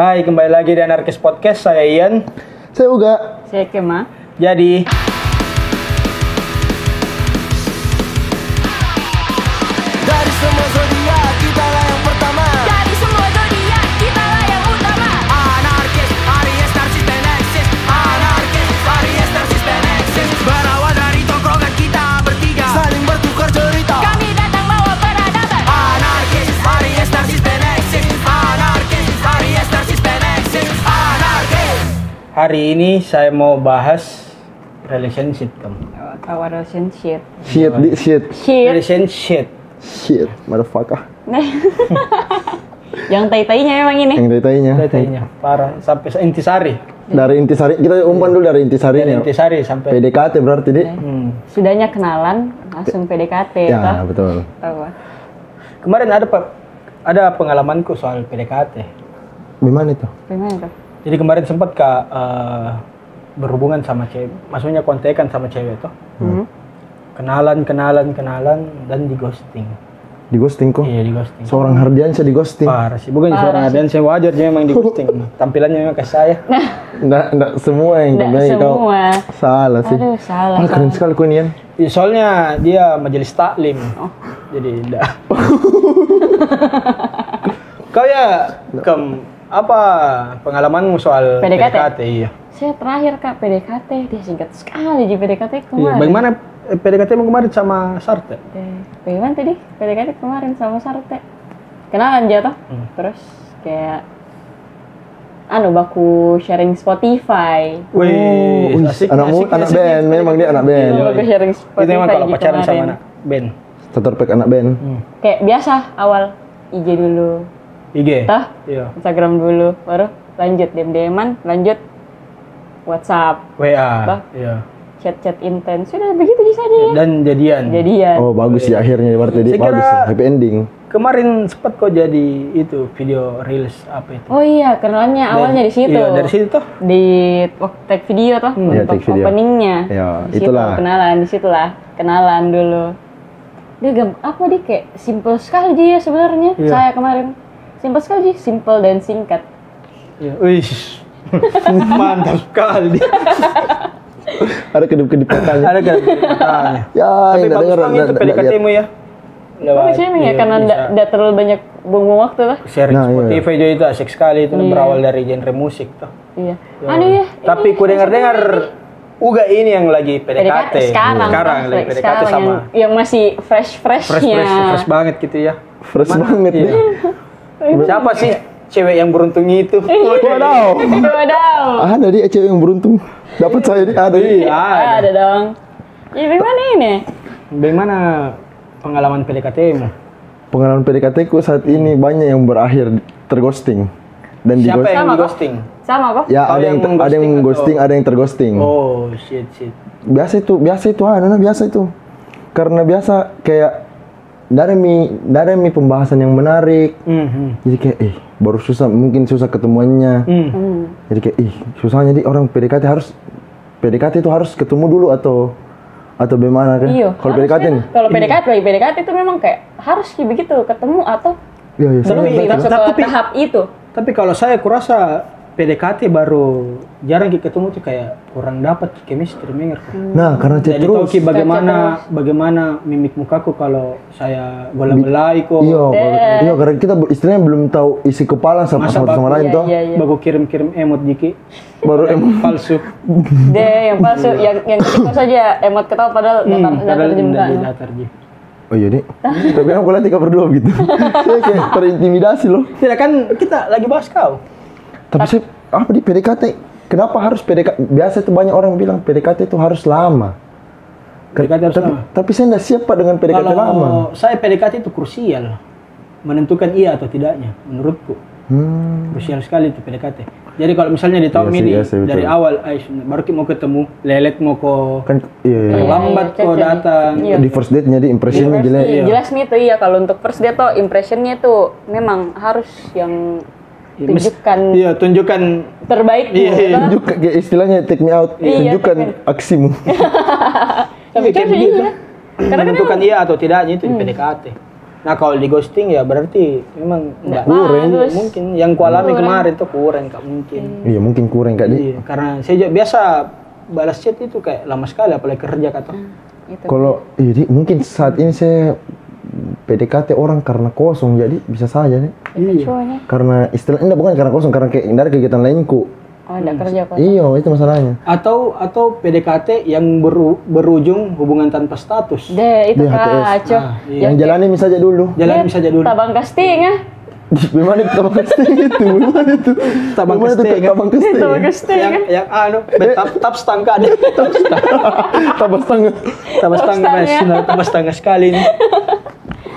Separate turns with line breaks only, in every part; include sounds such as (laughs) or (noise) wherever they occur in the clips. Hai, kembali lagi di Anarkis Podcast. Saya Ian.
Saya Uga.
Saya Kema.
Jadi,
Dari semua zodiak kita lah yang pertama.
Dari semua zodiak kita lah yang utama.
Anarkis, Aries, Narsis, dan Eksis. Anarkis, Aries, Narsis, dan Eksis. Berawal dari tongkrongan kita bertiga. Saling bertukar cerita.
Kami datang bawa peradaban.
Anarkis, Aries, Narsis, dan Eksis. Anarkis, Aries, Narsis, dan Eksis. Anarkis.
hari ini saya mau bahas relationship. Kamu.
Oh, Our relationship.
Shit, di shit,
Shit.
Relationship.
shit, motherfucker.
(laughs) yang tai-tainya memang ini.
Yang detainya.
Datanya parah sampai se- intisari.
Dari intisari, kita umpan dulu dari
Dari
intisarinya.
intisari sampai Hmm.
PDKT berarti di.
Sudahnya kenalan, langsung PDKT.
Ya
toh.
betul.
Tahu ah.
Kemarin ada pe- ada pengalamanku soal PDKT.
Gimana itu?
Gimana tuh?
Jadi kemarin sempat ke eh, berhubungan sama cewek, maksudnya kontekan sama cewek tuh.
Hmm.
Kenalan, kenalan, kenalan dan di ghosting.
Di ghosting kok.
Iya, di ghosting.
Seorang Hardiansyah di ghosting.
Parah sih, bukan seorang Aden, saya wajar dia memang di
(laughs)
ghosting. Tampilannya memang kayak
(laughs)
saya.
Nggak, nggak semua yang
Nggak
terbaik kau.
semua.
Salah sih.
Aduh, salah.
Wah, keren
salah.
sekali kau Nian.
Ya, soalnya dia majelis taklim.
Oh.
Jadi
(laughs)
enggak. Kau ya, Kem, apa pengalamanmu soal
PDKT?
Iya.
Saya terakhir Kak PDKT, dia singkat sekali di PDKT
Iya,
kemarin.
bagaimana eh, PDKT-mu kemarin sama Sartre?
Eh, Bagaimana tadi? PDKT kemarin sama Sarte. Kenalan jatuh.
Hmm.
Terus kayak anu baku sharing Spotify.
Wih,
Oh, wih,
asik,
anak
asik,
mu- anak
asik.
band, memang dia anak band.
Iya.
Baku sharing
Itu
Spotify.
memang kalau
gitu
pacaran sama
kemarin.
anak band.
Starter pack anak band.
Iya. Kayak biasa awal IG dulu,
IG.
Tah?
Iya.
Instagram dulu, baru lanjut DM-DM-an, lanjut WhatsApp,
WA.
Tah?
Iya.
chat-chat intens. Sudah begitu di sana ya.
Dan jadian.
Jadian.
Oh bagus di akhirnya berarti di
Saya
bagus
kira-
ya. happy ending.
Kemarin sempat kok jadi itu video reels apa itu?
Oh iya, kenalannya awalnya di situ.
Iya, dari situ Hmm. tuh.
di waktu take video tuh
Iya,
untuk
take video.
openingnya.
Iya,
Di situ,
itulah.
kenalan di situlah, kenalan dulu. Dia gam- apa dia kayak simple sekali dia sebenarnya.
Iya.
Saya kemarin simple sekali, dia, simple dan singkat.
Iya. Wih. (laughs) Mantap sekali.
Ada kedip-kedip katanya.
Ada kan? Tanya.
Ya,
Tapi
yang
bagus
nggak
banget
denger,
itu
nggak- nggak lihat.
PDKT-mu ya.
Tapi saya emang ya
iya,
karena
bisa.
tidak terlalu banyak buang waktu lah.
sharing
Nah, iya.
Spotify juga itu asik sekali itu berawal dari genre musik tuh.
Iya. Anu ya.
Tapi ku dengar-dengar Uga ini yang lagi PDKT.
PDKT sekarang,
Iya. Sekarang
pas
lagi
lagi
PDKT
sekarang
sama
yang, Iya. yang masih fresh
fresh
freshnya.
fresh fresh banget gitu ya.
Fresh banget
(laughs)
Iya.
deh.
Iya.
Siapa sih cewek yang beruntung itu?
Wadaw.
Wadaw.
Ada di cewek yang beruntung. Dapat saya di ada di.
Iya.
Ah, ada dong. Ya bagaimana ini?
Bagaimana pengalaman PDKT-mu?
Pengalaman PDKT ku saat ini banyak yang berakhir terghosting dan di
Siapa yang
Sama
di
kok.
ghosting?
Sama kok?
Ya
Kau
ada yang
yang
ter- ada yang
ghosting
ghosting, ada yang terghosting.
Oh, shit shit.
Biasa itu, biasa itu, ah, Nana, biasa itu. Karena biasa kayak dari mi dari mi pembahasan yang menarik.
Mhm.
Jadi kayak eh baru susah mungkin susah ketemuannya.
Hmm.
Jadi kayak ih susahnya di orang PDKT harus PDKT itu harus ketemu dulu atau atau bagaimana kan?
Iya.
Kalau
harus
PDKT
memang.
nih.
Kalau PDKT
Iya.
lagi PDKT itu memang kayak harus kayak begitu ketemu atau
Iya, iya.
Tapi-
sangat-
lebih masuk ke
tapi-
tahap itu.
Tapi kalau saya kurasa PDKT baru jarang kita ketemu tuh kayak kurang dapat chemistry mengerti.
Nah, karena
Jadi
chat terus.
Toki bagaimana bagaimana mimik mukaku kalau saya bola-belai kok.
Iya,
Eh.
kalau- iya karena kita be- istilahnya belum tahu isi kepala sama
Masa ya,
satu
baku-
sama lain toh.
Iya, iya.
Baru kirim-kirim emot dikit
Baru em
palsu.
Deh, yang palsu, yang yang ketipu saja emot ketawa padahal datar
Iya. Hmm.
datar
Padahal
di muka.
tidak di latar dia.
Oh iya, Dek. Tapi aku lihat tiga berdua
(laughs)
gitu. saya kayak terintimidasi loh.
Tidak kan kita lagi bahas kau.
Tapi saya apa di PDKT? Kenapa harus PDKT? Biasa tuh banyak orang bilang PDKT itu harus lama. Ke-
PDKT harus
tapi,
lama.
tapi saya nggak siap Pak, dengan PDKT
Kalau
lama.
saya PDKT itu krusial menentukan iya atau tidaknya menurutku.
Hmm.
Krusial sekali itu PDKT. Jadi kalau misalnya di tahun
Iya sih,
ini
iya sih, betul.
dari awal ay, sebenarnya baru kita mau ketemu, lelet mau kok
Kan iya, iya.
terlambat
Iya, iya,
kok
cocok.
datang.
Iya.
Di first date jadi impressionnya jelek.
Iya. Jelas nih tuh iya kalau untuk first date tuh impressionnya tuh memang harus yang
Iya, mes-
tunjukkan
Iya, tunjukkan
terbaik gitu, kan? tuh.
Iya, iya.
Bang.
Tunjuk kayak istilahnya take me out,
Iya,
tunjukkan
take (laughs)
aksimu.
Tapi
Iya, kayak
cocok,
begitu.
iya. Karena kan Hmm.
menentukan iya atau tidaknya itu di PDKT. Nah kalau di ghosting ya berarti memang nggak
Kurang.
bagus.
mungkin. Yang kualami
Kurang. Hmm.
kemarin tuh kurang nggak mungkin.
Iya mungkin kurang kak di.
Iya, karena saya juga biasa balas chat itu kayak lama sekali apalagi kerja kata.
Hmm. Itu.
Kalau jadi mungkin saat ini saya PDKT orang karena kosong jadi bisa saja nih.
Iya.
Itu cowoknya.
Karena istilahnya enggak, bukan karena kosong karena kayak dari kegiatan lainku.
Oh, ada kerja kok.
Iya itu masalahnya.
Atau atau PDKT yang beru- berujung hubungan tanpa status.
Deh, itu
Dia HTS.
kacau.
Ah, iya.
ya.
Yang jalani bisa aja dulu.
Jalan bisa jadi dulu.
Tabang casting ya.
Gimana itu
(laughs)
tabang kesting itu? Gimana itu?
Tabang
Gimana itu
kesting,
ya.
kayak tabang kesting?
Tabang
(laughs)
casting
Yang
kan.
yang anu tap tap stangka deh.
Tabang setengah.
tambah
Tambah
setengah mas,
setengah.
Nah, tambah setengah sekali nih.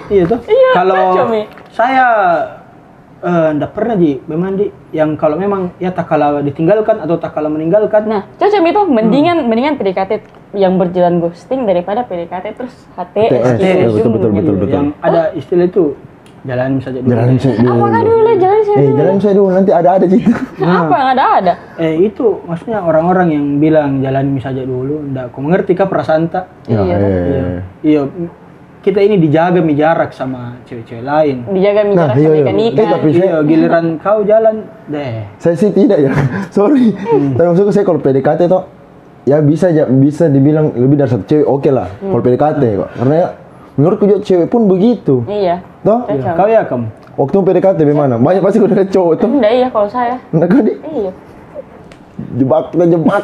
iya tuh. kalau
cocok, Mi.
saya eh, ndak pernah ji, memang di yang kalau memang ya tak kalah ditinggalkan atau tak kalah meninggalkan.
Nah, cocok itu mendingan mendingan PDKT yang berjalan ghosting daripada PDKT terus HTS.
eh,
HTS,
gitu,
iya,
ujung.
betul, betul, betul, betul.
Yang ada istilah itu jalanin saja dulu.
Jalanin saya dulu.
Apa nggak dulu jalan saya
Eh
dulu.
jalanin saya dulu nanti ada ada gitu.
Apa yang ada ada?
Eh itu maksudnya orang-orang yang bilang jalanin saja dulu, ndak aku mengerti kah perasaan tak?
Ya,
Iya.
iya.
Iya, kita ini dijaga mi jarak sama cewek-cewek lain.
Dijaga
Nah,
micara
iya,
sama
iya.
ikan
Eh, tapi saya,
Iya, giliran kau jalan deh.
saya sih tidak ya. (laughs) Sorry. Tapi maksudku saya kalau PDKT toh ya bisa aja bisa dibilang lebih dari satu cewek oke lah kalau PDKT kok. Karena ya, menurutku juga cewek pun begitu.
Iya.
Toh
Iya, Kau ya kamu?
waktu PDKT bagaimana? Banyak pasti udah ada cowok toh.
Enggak iya kalau saya.
Nah, kok di
Iya.
jebak kita jebak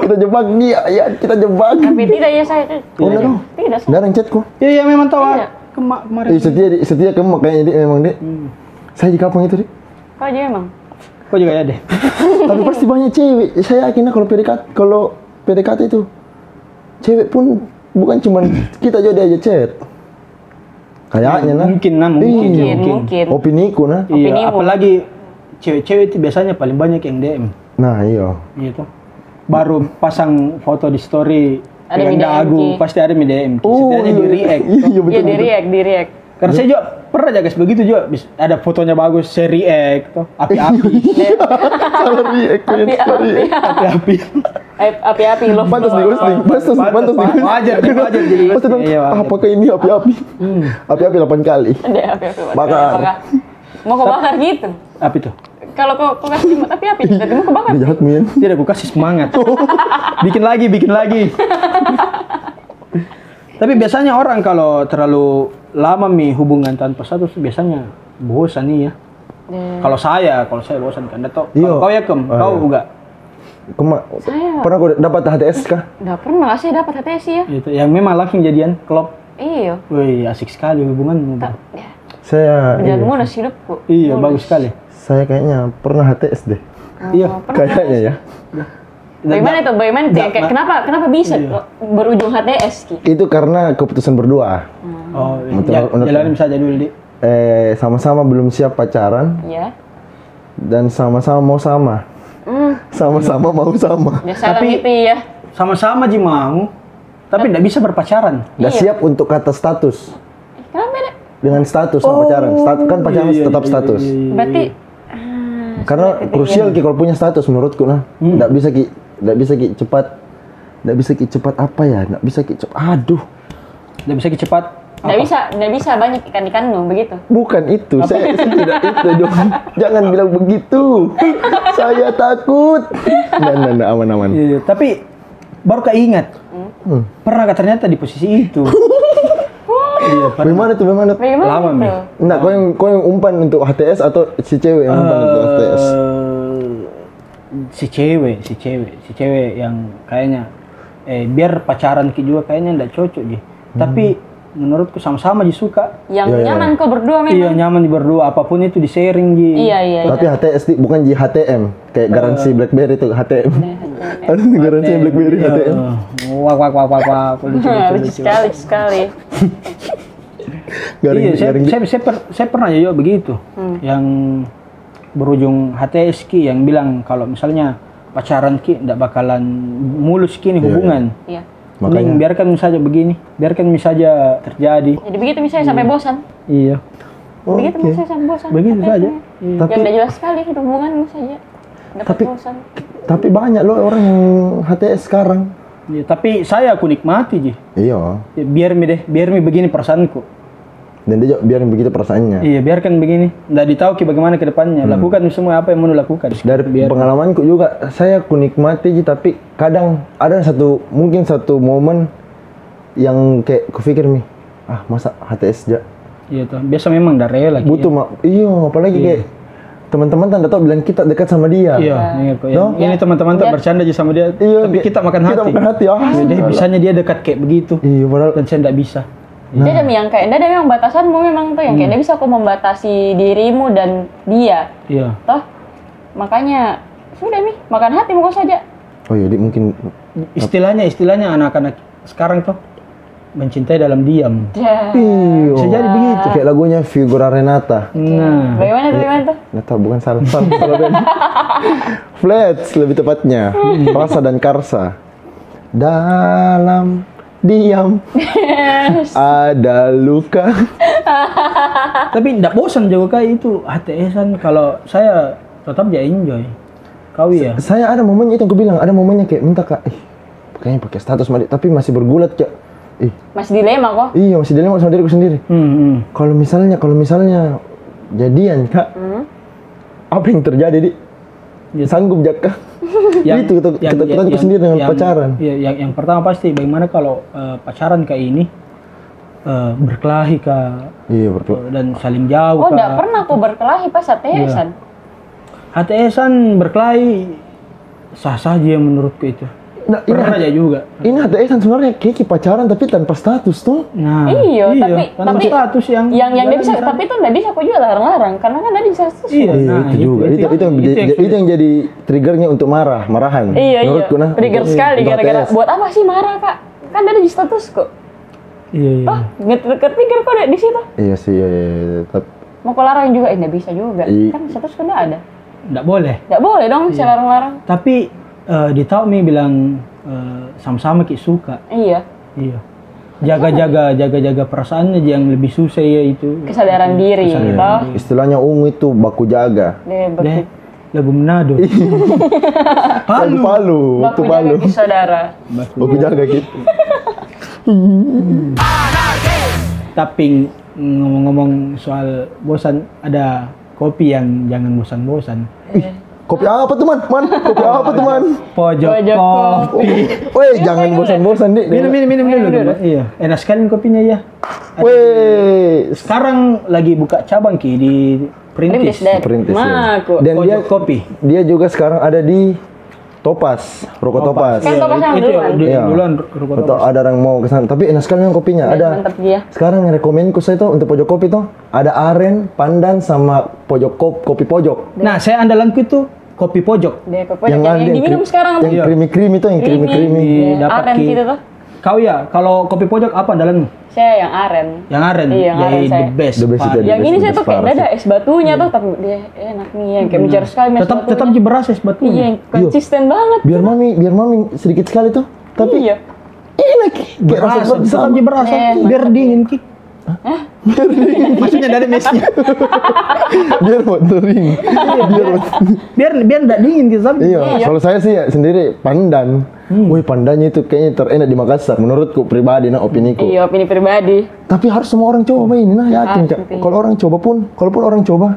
kita jebak dia ya kita jebak.
Tapi tidak ya saya.
Oh, enggak dong.
Tidak saya.
Darang chat kok.
Iya, iya memang tahu.
Iya.
Kema- kemarin.
Eh, setia di, setia kamu kayaknya Dik, memang deh. Saya di kampung itu deh.
Kau aja emang.
Kau juga ya deh.
Tapi pasti banyak cewek. Saya yakin lah kalau PDKT kalau PDKT itu cewek pun bukan cuman kita aja dia aja chat. Kayaknya lah.
Mungkin nah, mungkin,
Iya.
Mungkin, mungkin.
Opini ku nah.
Iya,
Opini mu.
apalagi cewek-cewek itu biasanya paling banyak yang DM
Nah, iya.
gitu. Baru pasang foto di story
Ada
dengan
yang di
dagu,
DM, Ki.
pasti ada yang di DM. Ki. Setidaknya di Oh, react.
Iya, iya,
Iya
betul.
di
betul.
react, di react.
Karena saya juga pernah jaga begitu juga. Bis- Ada fotonya bagus, saya react tuh.
(laughs)
Api-api,
Salah
Iya,
react, kalian
Tapi-
salah react.
api-api.
Ap- Eh, Api-api love
Pantas nih, pantas nih, pantas,
Pantas,
pantas nih.
wajar, deh, wajar jadi
Pasti dong,
iya, wajar. Hmm.
apakah ini api-api? Api-api 8 kali.
Ada api-api.
Bakar.
Mau kau bakar gitu.
Api tuh.
Kalau kau kau kasih jimat api-api,
Iya.
berarti mau kau bakar.
Dia jahat, Min.
Tidak, aku kasih
(laughs)
semangat. bikin lagi, bikin lagi. Tapi biasanya orang kalau terlalu lama mi hubungan tanpa status biasanya bosan nih ya.
Iya.
Kalau saya, kalau saya bosan kan. Dato,
Iya.
kalau kau ya kem,
Oh,
kau
iya.
enggak.
Kema-
Saya-
pernah kau dapat HTS kah?
Nggak pernah sih dapat HTS sih ya.
Gitu. Yang memang laki jadian klop.
Iya.
Wih, asik sekali hubungan.
Tak. Ya.
Saya
Berjalan
iya.
mulus hidupku.
Iya,
Mulus.
bagus sekali.
saya kayaknya pernah HTS deh.
Iya.
Oh, pernah.
Kayaknya ya.
Bagaimana itu? Bagaimana itu?
Nggak,
Kayak
nggak. Iya.
kenapa kenapa bisa kok berujung HTS Ki?
Itu karena keputusan berdua.
Oh, iya.
Betul,
Jal-
betul.
jalanin saja dulu, Di.
Eh sama-sama belum siap pacaran
Ya.
dan sama-sama mau sama.
Hmm,
Sama-sama mau sama.
biasa lah
Tapi-
mimpi ya.
Sama-sama Ji mau, tapi enggak bisa berpacaran.
Udah siap untuk kata status.
Eh, Kenapa ya?
Dengan status sama pacaran. Stat- kan pacaran
Iya, iya,
tetap
iya,
status.
iya, iya.
Berarti
Karena krusial ki kalau punya status menurutku nah.
Hmm.
Enggak bisa ki enggak bisa ki cepat enggak bisa ki cepat apa ya? Enggak bisa ki cepat. Aduh.
Enggak bisa cepat.
nggak bisa nggak bisa banyak ikan ikan dong begitu.
Bukan itu, saya, saya tidak itu
(laughs)
dong. Jangan bilang begitu. saya takut. Nah, nah, nah, aman, aman.
Iya, tapi baru keinget. Pernah nggak ternyata di posisi itu? iya, pernah.
Bagaimana tuh, bagaimana? tuh?
Bagaimana
Lama, Mi.
itu?
Nah, kau yang kau yang umpan untuk HTS atau si cewek yang umpan untuk HTS?
Eh, si cewek, si cewek, si cewek yang kayaknya eh biar pacaran ki juga kayaknya nggak cocok Ji. Tapi menurutku sama-sama Ji suka.
Yang
Iya, iya.
nyaman kok berdua
Iya
memang.
nyaman di berdua apapun itu di sharing Ji.
Iya iya. (laughs) iya.
Tapi HTS di, bukan di HTM, kayak garansi BlackBerry tuh HTM. (laughs) Ada tuh garansi
Eh,
BlackBerry
iya.
HTM.
Wah wah wah wah wah
(laughs)
lucu
Nah,
lucu
lucu
lucu.
sekali lucu sekali.
Garing,
Iya, saya,
garing.
saya, saya, per- saya pernah juga begitu.
Hmm.
Yang berujung HTS Ki yang bilang kalau misalnya pacaran Ki ndak bakalan mulus Ki nih hubungan.
Iya.
Mending
Makanya.
biarkan saja begini, biarkan saja terjadi.
Jadi begitu misalnya sampai bosan.
Iya.
Oke.
Begitu misalnya sampai bosan.
Begitu
HTS
saja.
-nya. Kan Yang
Tapi
nggak Iya, jelas sekali hubunganmu saja. Dapat
Tapi-
bosan.
tapi banyak loh orang yang HTS sekarang.
Iya, tapi saya aku nikmati Ji.
Iya.
Ya, Biar mi deh, biar mi begini perasaanku.
dan dia jawab, biarin begitu perasaannya
Iya, biarkan begini. Nggak ditahu ki bagaimana ke depannya. Lakukan semua apa yang mau lu lakukan.
Hmm. dari
Biar-
pengalamanku juga saya ku nikmati ji, tapi kadang ada satu mungkin satu momen yang kayak kupikir nih ah masa HTS ja
Iya tuh. Biasa memang dari rela. Ki.
butuh ma- iya apalagi kayak teman-teman tanda tahu bilang kita dekat sama dia
Iya, iya kok.
No?
Yang- Ini teman-teman tak bercanda aja sama dia.
Iya,
tapi
dia-
kita makan hati.
kita makan hati, ah.
Iya, dia bisanya dia dekat kayak begitu.
iya padahal
Dan saya nggak bisa.
Nah.
Dia demi yang kayak, dia demi yang batasanmu memang tuh yang
Hmm.
kayak dia bisa kok membatasi dirimu dan dia.
Iya.
Toh, makanya sudah nih makan hati mau saja.
oh iya Dik, mungkin
Istilahnya istilahnya anak-anak sekarang tuh mencintai dalam diam.
Ya.
iya
Bisa jadi begitu.
kayak lagunya Figura Renata
Nah,
Bagaimana tuh bagaimana tuh?
nggak tahu bukan salah salah
(laughs)
salah band. Flats lebih tepatnya
Hmm.
rasa dan karsa dalam
(laughs)
diam ada luka
tapi ndak bosan juga kayak itu HTSan kalau saya tetap ya enjoy. Kau ya.
saya ada momennya itu yang aku bilang ada momennya kayak minta kak eh kayaknya pakai status mandi tapi masih bergulat kayak ih
Masih dilema kok.
iya masih dilema sama diriku sendiri
Hmm, hmm.
kalau misalnya kalau misalnya jadian kak
Hmm?
apa yang terjadi di
Ya.
sanggup jaka
Yang-
itu kita
yang-
kita, kita,
yang-
sendiri dengan
yang-
pacaran
Iya, yang, yang pertama pasti bagaimana kalau eh, pacaran kayak ini eh, berkelahi kah
iya berpeluk
dan saling
Iya,
jauh
Oh,
kah?
enggak pernah kok berkelahi pas HTS-an.
HTSan berkelahi sah sah aja menurutku itu.
Nah,
Iya.
ini,
Pernah aja juga.
ini HTS sebenarnya kayak pacaran tapi tanpa status tuh.
Nah,
Iya, tapi
kan
tapi
status yang
yang yang dia bisa,
jalan
tapi itu enggak bisa aku juga larang-larang karena kan tadi bisa sus-
Iya,
Iya,
nah,
itu, juga. Itu, itu, yang, jadi-
yang
itu yang jadi triggernya untuk marah, marahan.
Iya, iya.
Menurutku nah.
Trigger
untuk-
sekali
untuk
gara-gara
HTS.
buat apa sih marah, Kak? Kan tadi di status kok.
Iya, iya.
Toh, ngetrigger kok ada di situ.
Iya sih, iya, iya, iya. Tapi
Mau kau larang juga, eh, enggak bisa juga.
Iya.
Kan status kan enggak ada.
Nggak boleh.
Enggak boleh dong
Iya.
bisa larang-larang.
Tapi eh di tau mi bilang eh, sama-sama ki suka.
Iya.
Iya. Jaga-jaga jaga-jaga perasaannya aja yang lebih susah ya itu.
Kesadaran diri,
Kesadaran
toh.
iya. istilahnya ungu itu baku jaga.
Dia
Deh,
ber-
lagu
(laughs)
Menado.
Palu,
Palu.
palu,
baku
itu palu.
jaga saudara.
Baku jaga gitu.
Tapi ngomong-ngomong soal bosan, ada kopi yang jangan bosan-bosan.
Kopi apa tuh man? Man, kopi apa tuh man? (laughs)
Pojok,
Pojok
kopi.
Woi, jangan bosan-bosan dik.
Minum, minum, minum,
Minum
minum dulu.
dulu.
Iya, enak sekali kopinya ya.
Woi,
Sekarang lagi buka cabang ki di Perintis.
Perintis, Dad.
perintis. ya.
Ma, aku.
Dan
Pojok
dia
kopi.
dia juga sekarang ada di Topas, Ruko Topas.
Kan Topas yang
itu
duluan.
di-
Iya.
duluan Ruko
Atau
Topas.
ada orang mau kesan, tapi enak sekali yang kopinya.
Iya,
Ada.
Ada
Mantap dia.
sekarang yang rekomenku saya tuh untuk pojok kopi tuh ada aren, pandan sama pojok kop, kopi pojok.
Nah, saya andalanku itu kopi pojok.
Dia pokoknya yang, yang,
ada
diminum
krim-
sekarang tuh.
Yang creamy creamy tuh, yang creamy
Iya.
creamy.
Ini
Iya,
dapat
aren
ki.
gitu tuh.
Kau ya, kalau kopi pojok apa andalanmu?
Saya yang aren.
Yang aren.
Iya, yang aren
Jadi
saya.
the best.
The best
Pak.
itu ada.
yang ini saya tuh kayak
Parah
ada es batunya tuh tapi dia enak nih yang kayak bicara sekali sama es
Iya. Tetap tetap
batunya.
jeberas ya es batunya.
Iya, yang konsisten banget.
Biar mami, biar mami sedikit sekali tuh. Tapi
Iya.
enak. Kayak rasa
berasa,
kopi
tetap
sama.
dia berasa,
Eh,
biar dingin ki.
Biar dingin,
(laughs) Maksudnya dari mesnya.
biar mau kering. Biar
Biar biar enggak dingin ki, tapi.
Iya, kalau saya sih ya sendiri pandan.
Hmm.
Wih, pandannya itu kayaknya terenak di Makassar menurutku pribadi nah opiniku.
Iya, opini pribadi.
Tapi harus semua orang coba ini nah yakin
Ah,
Cak.
penting.
Kalau orang coba pun, kalaupun orang coba,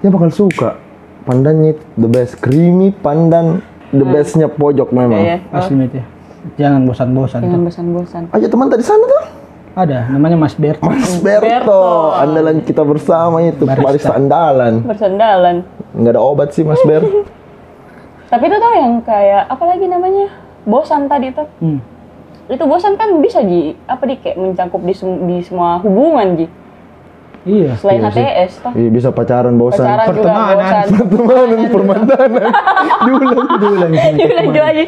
dia bakal suka. Pandannya the best, creamy pandan the bestnya pojok
Hmm. Iya.
memang.
Oh, Asli Mit, ya. Jangan bosan-bosan.
Jangan
tuh.
bosan-bosan.
Ayo teman tadi sana tuh.
Ada namanya Mas Bert.
Mas
Oh, Berto.
Berto, andalan kita bersama itu barista andalan.
Bersandalan.
Nggak ada obat sih Mas
(laughs)
Ber.
Tapi itu tuh yang kayak apa lagi namanya? Bosan tadi tuh.
Hmm.
Itu bosan kan bisa di apa di kayak mencakup di, sem- di semua hubungan, Ji.
Iya.
Selain
Iya sih.
HTS tuh.
Iya, bisa pacaran bosan.
Pacaran juga
Pertemanan.
bosan.
(laughs) Pertemanan, permantanan.
Diulang, diulang.
Diulang lagi.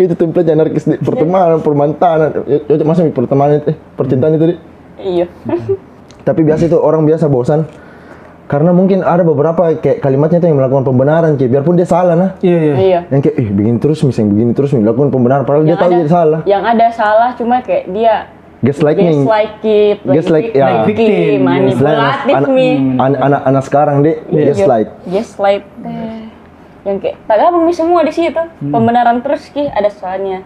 itu template anarkis di pertemanan, permantanan. Ya, Cocok masih pertemanan eh percintaan itu. Di.
Iya.
Tapi biasa itu orang biasa bosan karena mungkin ada beberapa kayak kalimatnya tuh yang melakukan pembenaran kayak biarpun dia salah nah
Iya, iya.
Iya.
yang kayak ih begini terus misalnya begini terus nih, lakukan pembenaran padahal dia tahu dia salah
Yang ada salah cuma kayak dia
gaslighting
gaslighted,
Gaslight- ya.
manipulatif,
Victim.
manipulatif
anak
nih.
anak- anak anak sekarang deh
Iya.
gaslight
Gaslight. deh. Yang kayak tak gabung nih semua di situ. Pembenaran terus ki ada soalnya.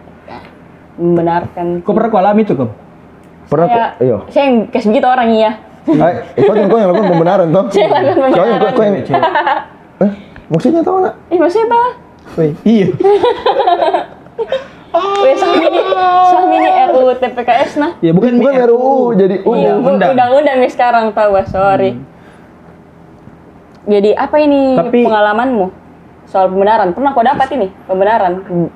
Membenarkan.
Kau pernah kau alami itu, Kom?
Pernah
saya,
kok- iya.
saya yang kayak begitu orang iya
Ay, eh, kau yang kau yang lakukan pembenaran toh?
Saya yang lakukan
Kau yang kau, kau yang
Cewek, cewek.
eh maksudnya tau nak?
ih maksudnya apa
Iya.
Weh, sahmi
(laughs)
ini sahmi ini RUU TPKS nah
Ya bukan,
Bukan RUU, jadi
Iya,
undang. Hmm.
Undang-undang.
undang-undang nih sekarang tahu ah, sorry jadi apa ini
Tapi-
pengalamanmu soal pembenaran pernah kau dapat ini pembenaran
Hmm.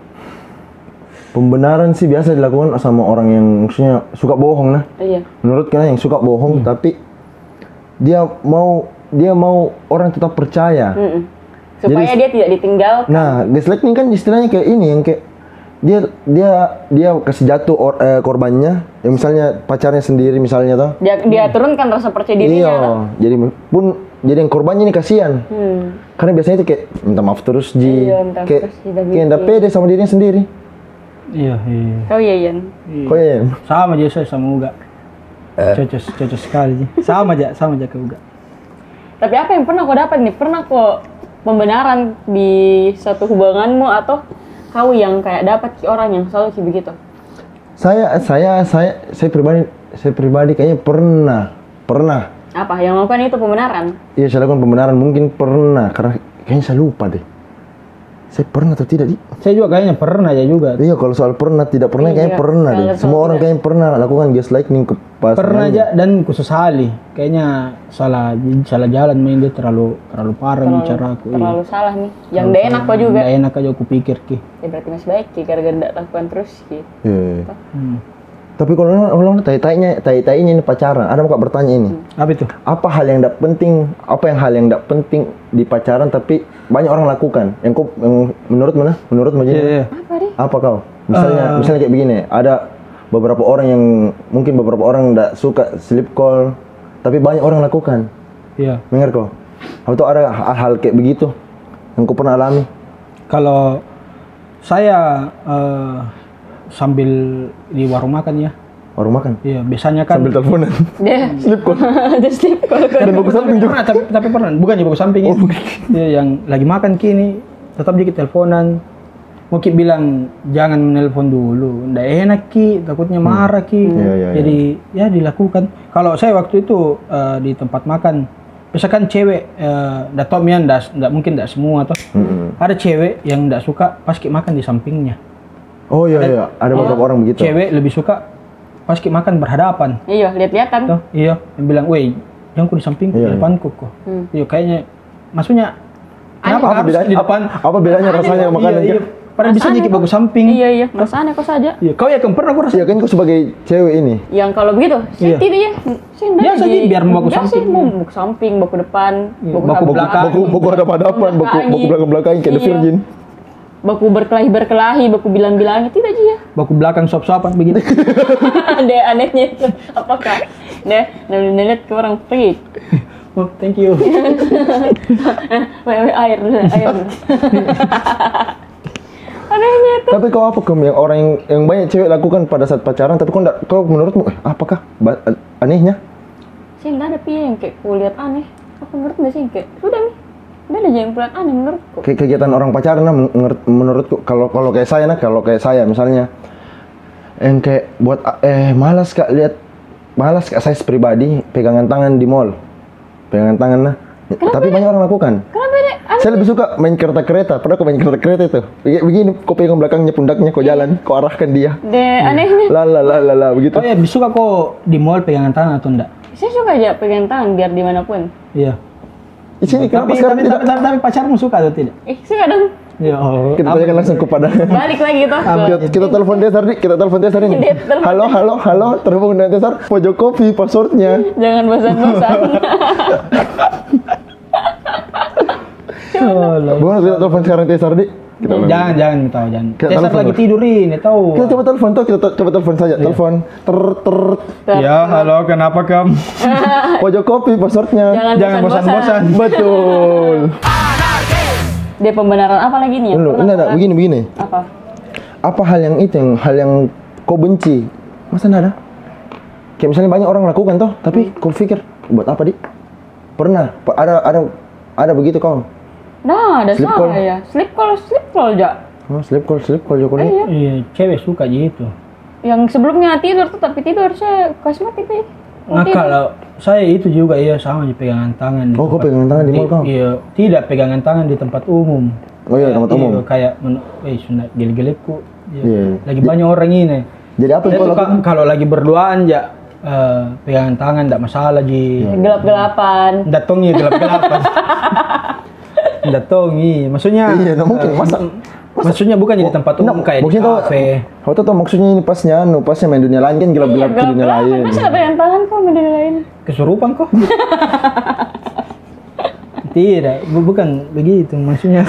Pembenaran sih biasa dilakukan sama orang yang maksudnya suka bohong nah.
iya
Menurut kalian yang suka
Hmm.
bohong tapi dia mau dia mau orang tetap percaya.
Mm-mm. supaya
Jadi-
dia tidak ditinggal
Nah, gaslighting kan istilahnya kayak ini yang kayak dia dia dia kasih jatuh or- eh, korbannya, ya misalnya pacarnya sendiri misalnya toh.
dia, dia turunkan rasa percaya dirinya kan?
Hmm. Iya, jadi pun jadi yang korbannya ini kasihan.
Hmm.
Karena biasanya itu kayak minta maaf terus Ji.
Iya, minta maaf
kayak
terus, tidak
kayak ndak
gitu.
pede sama dirinya sendiri.
Iya, iya.
oh iya Yan
Kok ya? Yan?
Sama aja saya sama Uga.
Eh.
Cocos, cocos sekali. Ji. Sama aja, sama aja ke Uga.
tapi apa yang pernah kau dapat nih pernah kok pembenaran di satu hubunganmu atau kau yang kayak dapat ki orang yang selalu kayak begitu
Saya saya saya saya pribadi saya pribadi kayaknya pernah pernah
apa yang melakukan itu pembenaran
Iya saya lakukan pembenaran mungkin pernah karena kayaknya saya lupa deh. Saya pernah atau tidak di?
Saya juga kayaknya pernah ya juga.
Iya kalau soal pernah tidak pernah
Iya,
kayaknya pernah deh.
kalau soal
Semua orang
tidak.
kayaknya pernah lakukan gaslighting ke pasangannya.
Pernah aja dan khusus Hali. Kayaknya salah salah jalan main dia terlalu terlalu parah
terlalu,
bicaraku.
terlalu salah nih yang gak enak kok juga
Nggak enak aja aku pikir ki.
ya berarti masih baik ki gara-gara gak lakukan terus gitu. ki
Iya, iya.
Hmm.
Tapi kalau orang tai-tainya tai-tainya ini pacaran, ada mau bertanya ini.
Hmm.
Apa itu?
apa hal yang tidak penting apa yang hal yang tidak penting di pacaran tapi banyak orang lakukan yang kau yang menurut mana menurut mana
Iya, iya.
apa deh
apa kau
Eh.
misalnya misalnya kayak begini ada beberapa orang yang mungkin beberapa orang tidak suka sleep call tapi banyak orang lakukan
Iya.
dengar kau atau ada hal-hal kayak begitu yang kau pernah alami
Kalau saya eh, sambil di warung makan ya.
orang makan
Iya, biasanya kan
sambil teleponan
dia
Hmm,
sleep
(laughs)
call
just sleep call kok.
dan bagus samping juga Oh,
Pernah, tapi, tapi pernah, bukan di bawah samping ya. Iya, yang lagi makan kini, tetap dikit teleponan. Mungkin bilang jangan menelpon dulu, ndak enak ki, takutnya marah ki.
Iya, iya,
Jadi ya dilakukan. Kalau saya waktu itu eh, di tempat makan, misalkan cewek, eh, ndak tau mian, ndak ndak mungkin ndak semua toh.
Mm-mm.
Ada cewek yang ndak suka pas ki makan di sampingnya.
oh iya iya ada beberapa orang begitu
Cewek lebih suka pas ki makan berhadapan.
iya lihat-lihatan
Tuh, iya, yang bilang, "Weh, jangan ku di sampingku,
Iya,
di
iya.
depanku kok."
Hmm.
Iya, kayaknya maksudnya kenapa
apa
harus
bedanya
di
apa,
depan?
apa bedanya rasanya makan
iya, iya. Padahal bisa
Perasaan
jadi
aku-
bagus samping.
iya iya mas aneh kok saja
Iya, kau ya kan pernah aku rasa.
Iya kan kau sebagai cewek ini
yang kalau begitu saya
Iya.
tidak ya saya ndak
Biasa
lagi-
aja, biar mau ke
biasa,
samping.
mau baku samping baku depan
Iya, baku
baku
belakang.
baku baku ada hadapan baku baku belakang belakang kayak The
Iya.
Virgin
baku berkelahi berkelahi baku bilang bilangnya tidak aja ya (laughs)
Baku belakang sop-sopan
(laughs)
begitu.
ada anehnya (laughs) itu. apakah deh nenek ke orang pergi (laughs)
oh, thank you.
wewe air
(laughs)
air anehnya itu
tapi kau apa kem yang orang yang, yang banyak cewek lakukan pada saat pacaran tapi kau ndak kau menurutmu eh, apakah Ba- eh, anehnya
sih nggak ada pia yang kayak kulihat aneh aku menurut nggak sih yang kayak udah nih udah ada aja yang kulihat aneh menurutku
Kayak kegiatan orang pacaran nah, menurut- menurutku kalau kalau kayak saya nah kalau kayak saya misalnya yang kayak buat eh malas kak lihat malas kak saya pribadi pegangan tangan di mall pegangan tangan nah tapi
ya?
banyak orang lakukan
kenapa Kan deh aneh
Saya lebih suka main kereta kereta. Pernah kau main kereta kereta itu? Kayak begini, kau pegang belakangnya pundaknya, kau jalan, kau arahkan dia.
deh anehnya
La la la la la begitu.
Kau ya bisa suka kau di mall pegangan tangan atau enggak?
saya suka aja pegang tangan biar dimanapun
Iya.
Di sini kenapa
Tapi,
sekarang
tapi,
tidak?
tapi, tapi, tapi pacarmu suka atau tidak?
eh suka dong
Iya, oh.
Kita tanyakan langsung kepada.
balik lagi tuh
Kita, kita telepon Desar nih, kita telepon Desar ini.
Iya, Dia telepon.
Halo, halo, halo, terhubung dengan Desar. Pojok kopi passwordnya.
jangan bosan-bosan
Oh,
Bukan kita telepon sekarang Desar di. Kita,
jangan, jangan tahu, jangan.
Kita
Saya
telepon
lagi
dulu.
tidurin, ya tahu.
kita coba telepon tuh, kita te- coba telepon saja.
Iya.
Telepon. Ter ter
Ya, halo, kenapa kamu?
pojok kopi passwordnya.
Ah. jangan, Iya,
Jangan bosan-bosan.
(laughs)
Betul.
dia pembenaran apa lagi nih yang pernah
Dulu, enggak, enggak,
kau-
begini, begini.
apa
apa hal yang itu yang hal yang kau benci masa nggak ada kayak misalnya banyak orang lakukan toh tapi
Hmm.
kau pikir buat apa di pernah pe- ada ada ada begitu kau
nah ada
Sleep
salah
call.
ya sleep call sleep call ja
oh, sleep call sleep call Joko
eh,
nih
iya.
Iya, cewek suka gitu.
yang sebelumnya tidur tuh tapi tidur saya kasih mati deh.
Nah
Mau tidur.
kalau saya itu juga iya sama di pegangan tangan. di
Oh, kau
tempat-
pegangan tangan di mall, Kang?
Iya, tidak pegangan tangan di tempat umum.
Oh iya, tempat
Iya,
umum.
kayak men- eh sunat gel-gelekku. Iya.
Iya.
Lagi banyak orang ini.
Jadi apa yang
Saya
kau
suka
lakukan?
kalau lagi berduaan ya eh, pegangan tangan tidak masalah ji.
Iya.
gelap-gelapan.
Datongi
(laughs)
gelap-gelapan. Datongi, maksudnya
Iya, nggak mungkin.
eh,
Masa-
maksudnya bukan di tempat umum kayak di
maksudnya tuh,
kafe.
kau tahu tuh maksudnya ini pasnya anu, pasnya main dunia lain kan
Iya,
gelap-gelap ke dunia
Gelap-gelapan.
lain.
Masa ada pegangan tangan kok sama dunia lain?
Kesurupan
(laughs)
kok. Tidak, bu- bukan begitu maksudnya.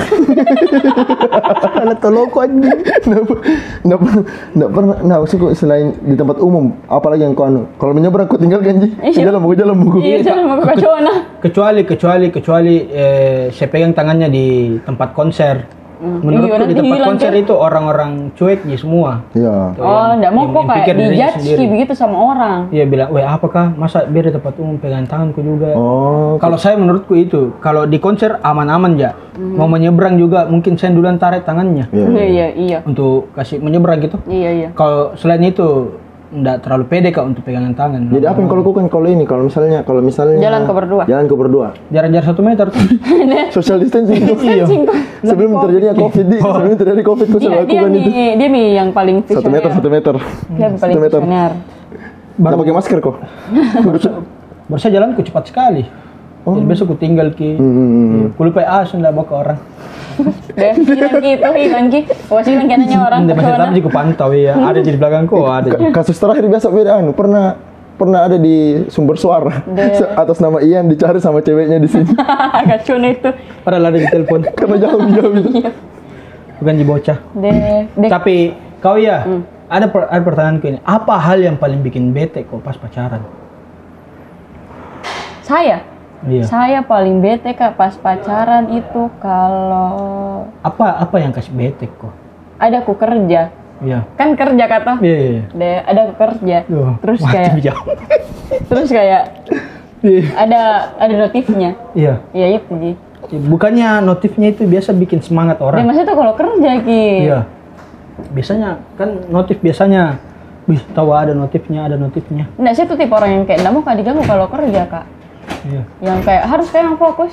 (laughs) Alah tolong kau anjing. Nggak per- nggak per- nggak pernah, nah maksudku selain di tempat umum, apalagi yang kau anu. Kalau menyeberang kau tinggalkan Ji. Ke dalam, ke dalam buku.
Iya, jalan mau ke Kacona.
Kecuali kecuali kecuali eh, saya pegang tangannya di tempat konser.
iya,
Menurutku di
nanti
tempat
hilang,
konser
kan?
itu orang-orang cuek ya semua.
Iya.
Tuh,
Oh,
yang-
enggak mau
yang-
kok
yang
kayak
pikir
di
dirinya
judge
sendiri.
begitu sama orang.
Dia bilang, weh apakah masa biar di tempat umum pegang tanganku juga.
Oh,
Kalau saya menurutku itu, kalau di konser aman-aman ya.
Hmm.
Mau menyeberang juga mungkin saya duluan tarik tangannya
iya.
Iya, iya, iya.
untuk kasih menyeberang gitu.
Iya, iya.
Kalau selain itu nggak terlalu pede kak untuk pegangan tangan.
Jadi apa yang kau lakukan kalau ini? Kalau misalnya, kalau misalnya
Jalan kau berdua.
Jalan kau berdua.
Jarak-jarak satu meter tuh.
Social distancing. Iya.
Cing, kok.
sebelum terjadinya covid, Di. sebelum terjadi covid kau
Kan Oh. Iya, Dia dia
sudah lakukan kan itu.
mi, dia mi yang paling
Satu meter,
visioner.
satu meter.
Dia yang paling
Satu meter.
visioner.
Nggak pakai masker kok.
Baru saya jalanku cepat sekali. Jadi besok ku tinggal ki.
Oh. Hmm.
Ku lupa ah sudah bawa ke orang.
Deh, hilang gitu, hilang ki. Awas hilang kanannya
(laughs)
orang
Nanti masih
Kacona. (laughs)
tadi ku pantau ya. Ada di belakangku ada.
Ka- kasus terakhir biasa beda anu pernah pernah ada di sumber suara Se- (laughs) atas nama Ian dicari sama ceweknya di sini (laughs)
Kacona itu.
Padahal ada di telepon.
karena jauh jauh itu.
(laughs)
Bukan di bocah.
Deh, deh.
Tapi kau ya,
Hmm.
ada per, ada pertanyaanku ini. Apa hal yang paling bikin bete kok pas pacaran?
Saya
Iya.
Saya paling bete kak pas pacaran itu kalau
Apa apa yang kasih bete kok?
ada aku kerja,
Iya.
kan kerja kata,
Iya. iya, iya.
deh ada aku kerja,
Duh,
terus
mati
kayak
jauh.
terus kayak
Iya.
ada ada notifnya,
Iya.
iya iya Ji.
Bukannya notifnya itu biasa bikin semangat
Dan
orang?
masa itu kalau kerja ki,
Iya. Biasanya kan notif biasanya, wih tahu ada notifnya, ada notifnya.
nah saya tuh tipe orang yang kayak nggak mau kak diganggu kalau kerja kak,
Iya.
yang kayak harus kayak yang fokus,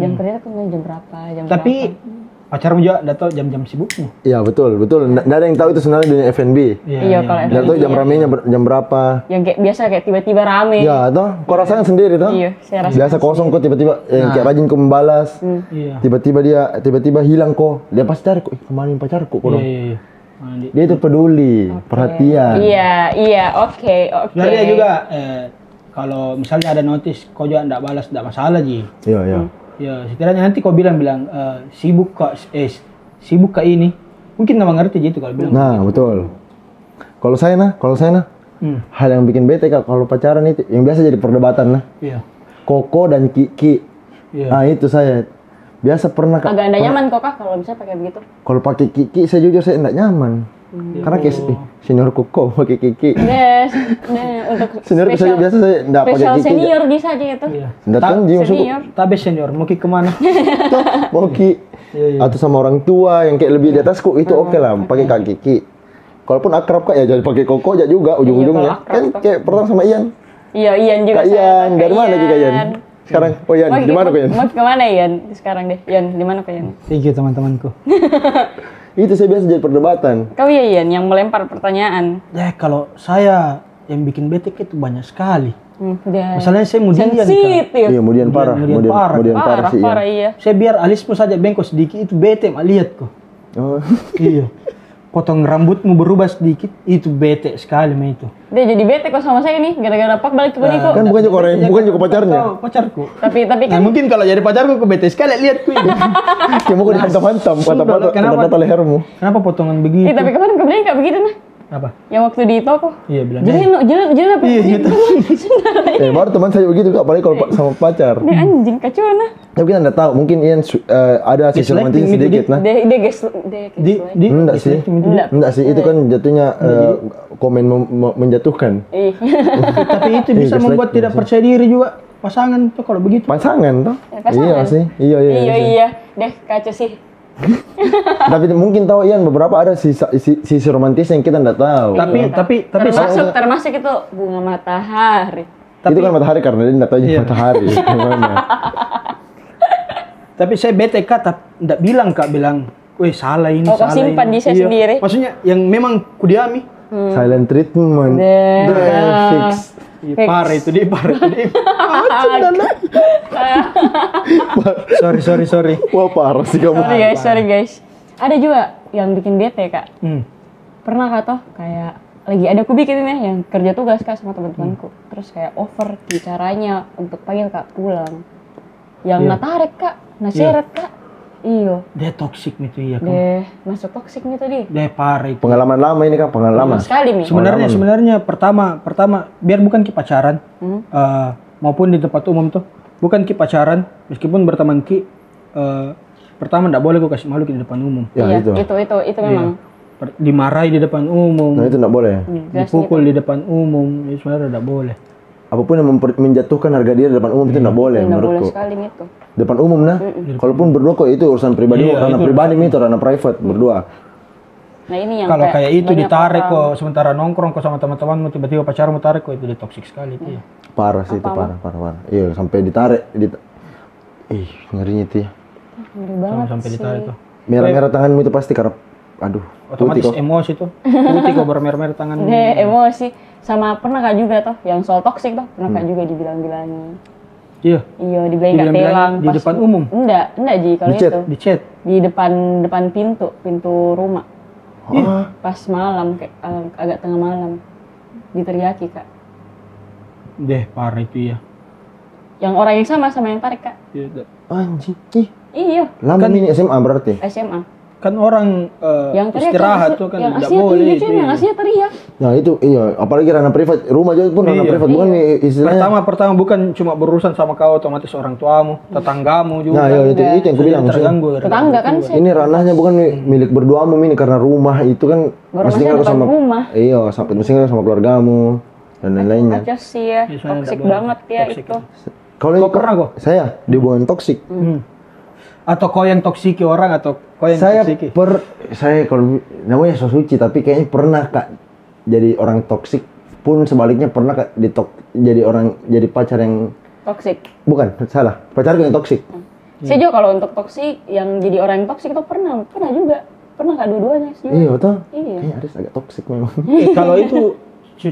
jam kerja tuh jam berapa, jam
Hmm. Tapi
berapa.
pacarmu juga nggak tahu jam-jam sibukmu.
Iya betul betul. Nggak nggak ada yang tahu itu sebenarnya dunia F&B.
Iya, kalau
Nggak tahu jam ramenya ber- jam berapa.
yang kayak biasa kayak tiba-tiba rame,
Iya.
Ya toh, kau rasakan sendiri toh.
Iya, saya Nah. rasakan
Biasa kosong kok tiba-tiba eh, kayak rajin kau membalas.
Hmm.
Iya.
Tiba-tiba dia tiba-tiba hilang kok. Dia pasti cari kok "Ih, kemana ini pacarku kok
Iya,
dong.
iya, iya. Nah, di-
Dia itu peduli, perhatian.
iya iya oke oke,
Sebenarnya juga eh, kalau misalnya ada notis kau juga nggak balas nggak masalah ji.
Iya iya.
Ya setidaknya nanti kau bilang bilang eh, sibuk kak eh sibuk kak ini mungkin nggak mengerti gitu kalau bilang.
Nah betul. Kalau saya nah, kalau saya nah,
Hmm,
hal yang bikin bete kak kalau pacaran itu yang biasa jadi perdebatan nah
iya.
koko dan kiki
Iya.
nah itu saya biasa pernah kak
agak anda nyaman kok kak kalau bisa pakai begitu.
kalau pakai kiki saya jujur saya enggak nyaman
Hmm.
karena kayak eh, senior koko pakai kiki
Yes, nah, untuk
senior saya
spesial-
biasa saya enggak pakai
spesial
kiki
senior bisa aja itu.
Iya.
enggak tahu dia maksudku
Senior.
Tapi senior mau ke (laughs) kemana?
"Tuh, mau ki
Iya, Hmm. iya.
atau sama orang tua yang kayak lebih di atasku itu oke lah pakai kak kiki kalaupun akrab kak ya jadi pakai koko aja juga ujung-ujungnya
Iya, kalau akrab,
kan kayak pertama sama Ian
Iya, Ian juga.
kak
saya
Ian
pakai
dari mana lagi kak Ian sekarang oh Ian
Mau-
di mana kak Ian
Mau kemana Ian sekarang deh? Ian, di mana kau Ian?
Thank you teman-temanku.
itu saya biasa jadi perdebatan
Kau ya Ian yang melempar pertanyaan.
Ya kalau saya yang bikin bete itu banyak sekali.
Hmm, udah.
Misalnya saya mau dian Kak.
sensitif.
Iya, kemudian parah,
Kemudian
kemudian
parah.
kemudian parah,
Parah,
sih. Iya.
parah iya.
Saya biar alismu saja bengkok sedikit itu bete mak lihat kok.
Oh, (laughs)
iya. Potong rambutmu berubah sedikit itu bete sekali mah itu.
Dia jadi bete kok sama saya nih gara-gara pak balik ke Boniko.
kan bukan juga orang, bukan juga pacarnya. Iya.
Oh, pacarku.
Tapi tapi
Nah,
kan
mungkin kalau jadi pacarku ke bete sekali lihat ku
(laughs)
ini.
Kayak mau kau dihantam-hantam, kata-kata
Sudah, kenapa?
kata-kata lehermu.
Kenapa potongan begitu?
Nah,
Ih, tapi
gitu.
kemarin kau bilang kayak begitu nah.
Apa?
Yang waktu di toko.
Iya
Nah,
bilang.
Jalan, lo, jalan, jalan apa?
Iya, iya,
(laughs)
tuh.
Eh, baru teman saya begitu kak, apalagi kalau pa- sama pacar.
Dia anjing kacau nah.
Tapi kita nggak tahu, mungkin Ian su- eh, ada sisi
Gaslighting
romantis
itu,
sedikit
Dit.
nah.
Dia dia gas dia
Di
gaslight.
di
Enggak
di-
sih.
itu dia.
Enggak.
Enggak sih, itu kan jatuhnya eh, komen mem- mem- menjatuhkan
Ih, (laughs)
Tapi itu
Iya,
bisa
gaslighting
membuat tidak
sih.
percaya diri juga pasangan tuh kalau begitu.
pasangan toh.
Eh, pasangan.
Iya sih, iya iya.
iya
sih.
iya. Deh kacau sih.
Tapi mungkin tahu Ian beberapa ada sisa- si- sisi romantis yang kita nggak tahu.
Tapi tapi tapi
Iya. termasuk termasuk itu bunga matahari.
itu kan matahari karena dia nggak tahu
Iya.
(laughs)
matahari. Gimana?
tapi saya bete kak tapi nggak bilang kak bilang weh salah ini
Oh, kau
salah
simpan
ini."
di saya
Iya.
sendiri.
maksudnya yang memang kudiami
Silent treatment.
Hmm. Deh.
Deh, fix.
Iya,
Fix.
parah itu dia parah itu
(laughs)
Ah, dia sorry sorry sorry
Wah parah sih kamu.
Sorry guys, sorry guys. Ada juga yang bikin bete kak.
Hmm.
Pernah kak toh kayak lagi ada aku bikin ini yang kerja tugas kak sama teman-temanku.
Hmm.
Terus kayak over bicaranya untuk panggil kak pulang. Yang
Iya.
natarik kak, naseret kak. Iyo,
dia toxic gitu iya kan
deh masuk toksik nih tadi.
dia parah itu
Pengalaman lama ini kan pengalaman lama.
Sekali nih.
sebenarnya
Pengalaman.
sebenarnya pertama pertama biar bukan ki pacaran
Hmm?
eh, maupun di tempat umum tuh bukan ki pacaran meskipun berteman ki eh, pertama nggak boleh gue kasih malu ki di depan umum
Ya
Iya,
itu.
itu itu itu memang.
Per- dimarahi di depan umum
Nah itu nggak boleh.
Jelas
dipukul di depan umum itu sebenarnya tidak boleh
Apapun yang memper- menjatuhkan harga diri di depan umum itu nggak boleh
Iya, nggak boleh
menurutku.
sekali gitu.
Depan umum nah. Kalaupun berdua kok itu urusan pribadi,
Iya,
ranah
itu
pribadi itu ranah private
Mm.
berdua.
Nah ini yang
kalau kayak itu
banyak
ditarik
orang-
kok sementara nongkrong kok sama teman-temanmu tiba-tiba pacarmu tarik kok itu dia toksik sekali
Hmm.
itu ya
Parah sih itu parah, parah, parah. Iya sampai ditarik, dit- ih ngerinya itu ya.
Ngeri banget
sampai
sih.
ditarik tuh
Merah-merah tanganmu itu pasti karena, aduh,
otomatis
putih kok.
emosi tuh putih kok bermer-mer tangan
(laughs) Deh, emosi. Sama pernah kak juga toh, yang soal toksik toh, pernah
Hmm.
kak juga dibilang-bilangi.
iya
Iya, dibilangin kak
Dibilang-bilangi
telang.
di
pas-
depan umum?
Enggak, enggak Ji, kalau
Di chat?
itu.
di chat
Di depan depan pintu, pintu rumah.
Iya.
Hah?
Pas malam, kayak, eh, agak tengah malam. Diteriaki kak.
deh parah itu ya
Yang orang yang sama sama yang tarik kak.
Iya, dah.
Ah, Anjing, ih
Iya,
lama ini SMA berarti.
SMA.
kan orang eh,
Yang teriak
istirahat
yang-
tuh kan
yang
tidak
aslinya
boleh
teriak,
itu
Cen, yang
ya.
aslinya teriak.
Nah itu iya, apalagi ranah privat, rumah juga pun ranah
Iya.
privat, bukan i- istilahnya.
pertama pertama bukan cuma berurusan sama kau otomatis orang tuamu tetanggamu juga
Nah iya
Enggak.
itu, itu yang aku
Jadi
bilang. maksudnya,
terganggu ya.
Tetangga kan sih.
Ini ranahnya bukan mi- milik berdua ini karena rumah itu kan
Baru
mesti
masih
ngaruh
depan
sama
rumah.
iya sampai mesti ngaruh sama keluargamu dan lain-lainnya.
Aja sih ya,
Iya, sebenarnya
toksik
nggak boleh.
banget ya
Toxic.
itu.
Kalau
Kau pernah kok?
Saya di hubungan toksik.
Hmm. atau kau yang toksiki orang atau kau yang
saya
toksiki
per saya kalau namanya so suci tapi kayaknya pernah kak jadi orang toksik pun sebaliknya pernah kak ditok jadi orang jadi pacar yang
Toksik.
bukan salah pacar yang toksik
Mm-hmm.
Hmm.
Saya juga kalau untuk toksik, yang jadi orang yang toksik itu pernah, pernah juga. Pernah nggak dua-duanya sih.
iya betul
Iya.
kayaknya Aris agak toksik memang (laughs)
Eh, kalau itu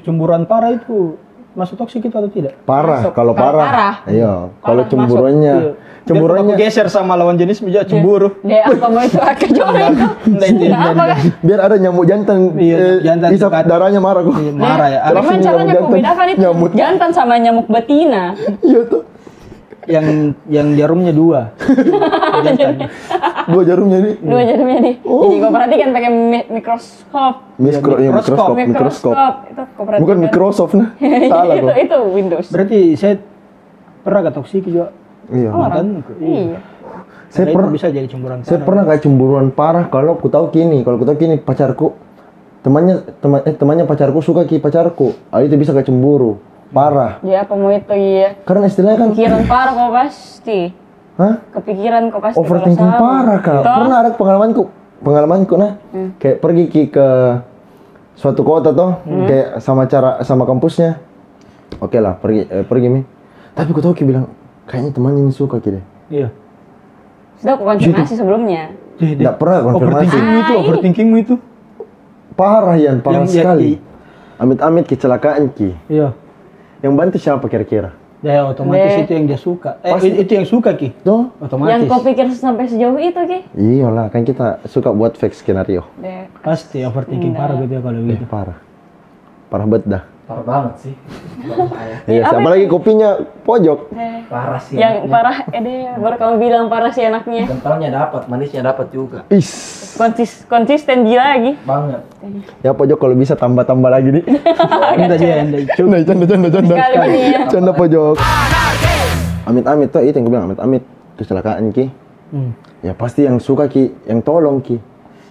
cemburuan parah itu masuk toksik itu atau tidak
parah
Masuk.
kalau
Kalau
parah,
parah.
iya kalau
masuk.
cemburuannya
Iya.
cemburuannya
Biar aku geser sama lawan jenis juga cemburu
Deh, apa mau itu
(laughs)
akan jodoh
Iya.
itu?
Nggak, itu
Nggak apa kan?
biar ada nyamuk jantan Eh,
Iya, nyamuk jantan
isap
dekat.
darahnya marah kok
Iya, marah
(laughs)
ya Ada
Gimana
Langsung
caranya
nyamuk
aku
jantan.
bedakan itu?
Nyamuk.
Jantan sama nyamuk betina.
(laughs) iya tuh
yang yang jarumnya dua Jantan.
dua jarumnya ini
Dua jadinya nih.
Oh.
Ini gue perhatikan pakai mi- mikroskop.
mikro
Iya,
iya, mikroskop
mikroskop.
mikroskop
Itu gue perhatikan. Iya,
bukan
(laughs)
Microsoft nah salah
itu,
kok
itu Windows.
(laughs) berarti saya pernah gak toksiki juga
iya
Oh,
Kan?
Iya.
saya
Karena itu
pernah
bisa jadi cemburuan
Saya
parah.
pernah kayak cemburuan parah kalau aku tahu kini, kalau aku tahu kini pacarku temannya teman eh, temannya pacarku suka ki pacarku. Ah itu bisa kayak cemburu, parah.
Dia apa mau itu ya?
Karena istilahnya kan
Pikiran parah kok pasti.
hah?
Kepikiran kok pasti.
Overthinking
kalau sama.
parah kak.
Toh,
Pernah ada pengalamanku, pengalamanku nah kayak pergi ki ke suatu kota toh kayak sama cara sama kampusnya. Oke lah pergi eh, pergi mi. Tapi aku tahu ki bilang kayaknya temannya ini suka ki deh.
iya
Sudah
Gitu.
aku konfirmasi sebelumnya.
Dih, dih.
Nggak pernah konfirmasi.
Overthinkingmu itu,
Ah, ini.
overthinkingmu itu.
Parah Yan, parah
Yang- yang
sekali.
di-
Amit-amit kecelakaan ki.
Iya.
Yang bantu siapa kira-kira?
Ya otomatis
Deh.
itu yang dia suka. Eh,
Pasti.
itu yang suka ki.
Tuh.
Otomatis.
Yang kau pikir sampai sejauh itu, Ki?
Iyalah, kan kita suka buat fake skenario.
Deh.
Pasti overthinking
Nah.
parah gitu ya kalau
Eh,
gitu.
parah. Parah banget dah.
parah banget sih Bukan saya.
Iya, sih. apalagi kopinya pojok.
Deh.
parah sih
Yang
enaknya.
parah, eh deh, baru kamu bilang parah si anaknya.
Iya.
kentalnya dapat manisnya dapat juga
Is.
Konsis, konsisten dia lagi. (laughs)
banget
Ya pojok kalau bisa tambah-tambah lagi nih.
Enggak dia yang
Canda, canda, canda, canda.
Sekali ini ya.
Canda pojok. Amit-amit tuh itu yang gue bilang amit-amit kecelakaan ki.
Hmm.
Ya pasti yang suka ki, yang tolong ki.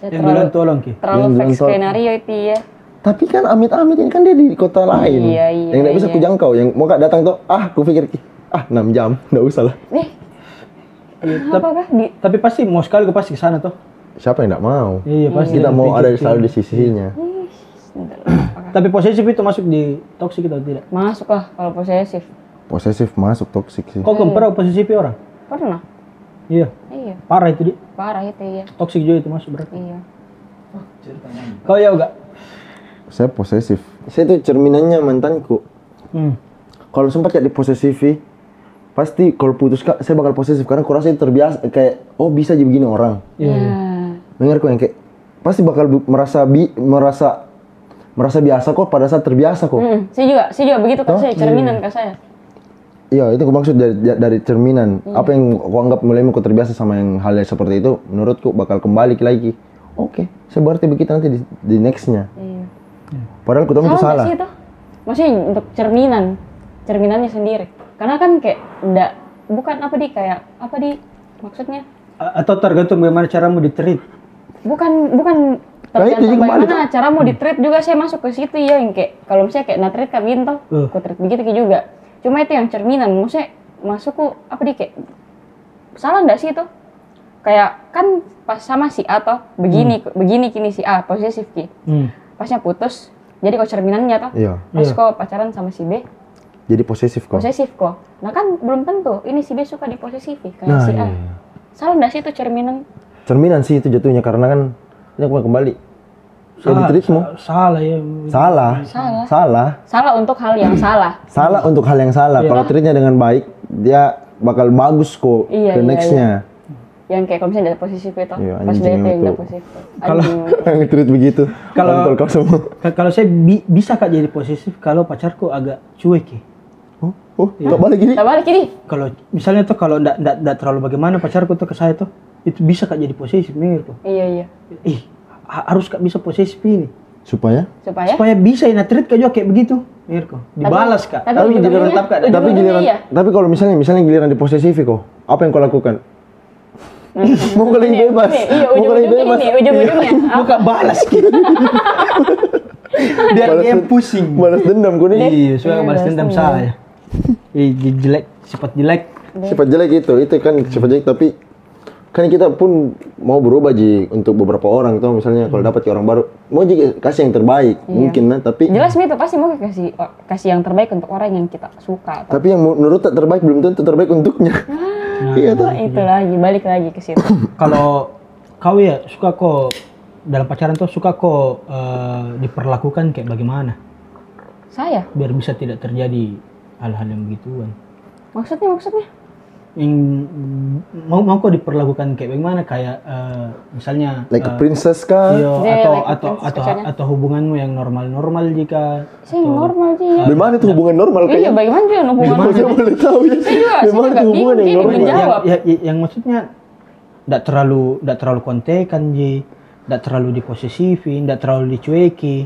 Ya,
Yang bilang
terlalu
tolong ki.
terlalu
Yang bilang
fake
tol-
skenario itu ya.
Tapi kan amit-amit ini kan dia di kota lain.
Iya, iya,
yang nggak bisa
iya.
(laughs) kujangkau, yang mau kak datang tuh, ah, ku pikir ki, ah 6 jam, nggak usah lah.
Nih,
Iya, tapi,
Apakah di
tapi pasti mau sekali gue pasti ke sana tuh.
Siapa yang nggak mau?
Iya, pasti.
Kita
Yang
mau ada
pijet
selalu di
itu.
sisinya.
Ih, sebentar, apakah-
Tapi posesif itu masuk di toksik atau tidak?
masuk lah kalau posesif
Posesif masuk toksik sih.
Kok kemper posesif orang?
pernah
Iya,
iya
parah itu di
parah itu iya
toksik juga itu masuk berarti.
iya
Kau ya enggak?
Saya posesif. Saya tuh cerminannya mantanku.
Hmm.
Kalau sempat jadi posesif, pasti kalau putus kak, saya bakal posesif karena kurasa itu terbiasa kayak oh bisa jadi begini orang.
Iya. iya.
Nah.
Dengar kok yang kayak pasti bakal bu- merasa bi merasa merasa biasa kok pada saat terbiasa kok.
Mm, saya juga saya juga begitu
Oh,
kan
Hah?
saya
iya.
cerminan kan saya
Iya, itu aku maksud dari, dari cerminan. Apa yang aku anggap mulai aku terbiasa sama yang hal yang seperti itu, menurutku bakal kembali lagi. Oke, saya berarti begitu nanti di, di nextnya.
iya
Padahal aku tahu itu
nggak
salah.
sih itu maksudnya untuk cerminan cerminannya sendiri karena kan kayak ndak bukan apa di kayak apa di maksudnya
A- Atau tergantung bagaimana caramu diterit.
bukan bukan
Nah, itu
tergantung
juga kembali, Hmm.
bagaimana cara mau ditreat juga saya masuk ke situ ya yang kayak kalau misalnya kayak natreat kayak begini toh
Eh.
aku treat begitu kayak juga cuma itu yang cerminan maksudnya masukku apa di kayak salah ndak sih itu kayak kan pas sama si A toh begini
Hmm.
begini kini si A posesif ki
Hmm.
pasnya putus jadi kok cerminannya toh
Iya,
pas
Iya.
kok pacaran sama si B
jadi posesif kok.
posesif kok nah kan belum tentu ini si B suka diposesifi kayak
Nah,
si
iya,
A
iya.
salah ndak sih itu cerminan
cerminan sih itu jatuhnya karena kan ini aku mau kembali. Saya
Salah-
diteritmu.
sa- Salah ya.
Salah.
Salah.
Salah.
salah untuk hal
(clears throat)
yang salah
Salah untuk hal yang salah.
Iya.
Kalau treatnya dengan baik, dia bakal bagus kok
Iya,
ke
iya,
nextnya.
yang kayak kalau misalnya ada posisi itu
Iya,
pas dia
anjing
itu yang
itu.
ada posisi
Kalau-
iya.
(laughs) Yang treat begitu.
Kalau-
kontol kau semua.
Ka- Kalau saya bi- bisa kak jadi posesif kalau pacarku agak cuek ya.
Oh, oh,
Iya.
tak balik ini.
tak balik ini
Kalau misalnya tuh kalau ndak ndak ndak terlalu bagaimana pacarku tuh ke saya tuh itu bisa kak jadi posesif nih tuh.
iya iya
Ih, ha- harus kak bisa posesif ini.
Supaya?
supaya
Supaya bisa ya natrit kak juga kayak begitu. Mirko, dibalas kak.
Eh? tapi
Tapi giliran
ujung-ujungnya-
tetap kak.
Tapi
Ujung-ujungnya
giliran,
iya.
tapi kalau misalnya misalnya giliran di posesif kok, apa yang kau lakukan? (laughs) Mau kau lagi bebas.
Hmm. ini iya
Mau kau lagi
ujung-ujungnya
bebas.
ini ujung-ujungnya
(laughs)
apa
Buka balas
(laughs)
gitu. Biar
Balas
dia yang
dendam.
pusing.
Balas dendam kau nih.
Iya, suka
Iya,
balas dendam
balas
saya. Ih, je- ya. Iya, jelek, sifat jelek.
Sifat jelek itu, itu kan sifat jelek tapi kan kita pun mau berubah ji untuk beberapa orang tuh
Hmm.
misalnya kalau dapat ke orang baru mau ji kasih yang terbaik
Iya.
mungkin lah tapi
jelas itu pasti mau kasih kasih yang terbaik untuk orang yang kita suka Nah, atau
tapi yang menurut tak terbaik belum tentu terbaik untuknya
Ah.
(laughs) iya tuh
itu lagi balik lagi ke situ
Kalau kau ya suka kok dalam pacaran tuh suka kok eh, diperlakukan kayak bagaimana
saya
biar bisa tidak terjadi hal-hal yang begituan.
maksudnya maksudnya
Yang mau mau kok diperlakukan kayak bagaimana kayak eh, misalnya
like
eh,
a princess kah
Iya,
Iya,
atau
like
atau
friends
atau
pacarnya.
atau hubunganmu yang normal-normal jika
saya yang normal sih ya
bagaimana tuh hubungan
iya
normal kayaknya
bagaimana juga hubungan
Kalau saya boleh tahu
Saya
ya
juga- saya
bagaimana
juga
tuh hubungan yang
Yang-
bingung,
normal
bingung. menjawab.
yang, yang, Iya, yang maksudnya tidak terlalu tidak terlalu kontekan ji, tidak terlalu diposesifin, tidak terlalu dicueki,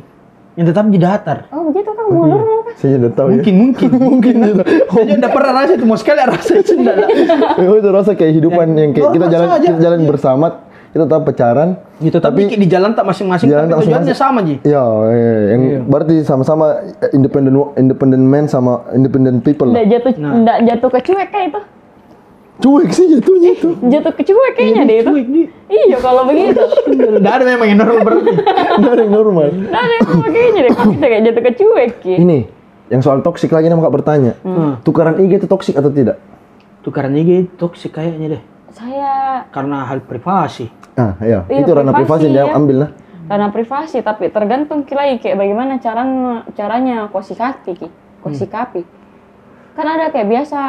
yang tetap di datar.
oh begitu kan mau normal kan
saya tidak tahu ya
Mungkin mungkin mungkin gitu. Saya juga tidak pernah rasa itu mau sekali rasa itu tidak.
Ya, (laughs) itu rasa kehidupan yang kayak kita
Eh, normal
jalan
saja.
kita jalan bersama kita tetap pacaran
Gitu tapi, kayak di jalan tak masing-masing
Jalan
tapi
tak
tujuannya
masing-masing.
sama ji.
Iya, iya, yang berarti sama-sama eh, independent wo- independent man sama independent people.
ndak jatuh
Nah.
ndak jatuh ke cuek kayak itu
Cuek sih jatuhnya itu.
jatuh ke cuek kayaknya deh itu
Cuek ji.
iya kalau begitu
Tidak ada memang yang normal berarti.
Nggak ada (laughs) yang normal.
Nah, ada yang kayaknya deh, kok kita kayak jatuh ke cuek Ki?
Ini yang soal toksik lagi nama kak bertanya.
Hmm.
Tukaran IG itu toksik atau tidak?
Tukarannya gitu toksik kayaknya deh.
Saya
Karena hal privasi.
Ah, iya,
Iya,
itu ranah
privasi,
privasi yang dia
ya.
ambil lah.
karena privasi, tapi tergantung Ki lagi kayak bagaimana cara caranya kau sikapi,
Hmm.
Ki. Kau sikapi. Kan ada kayak biasa,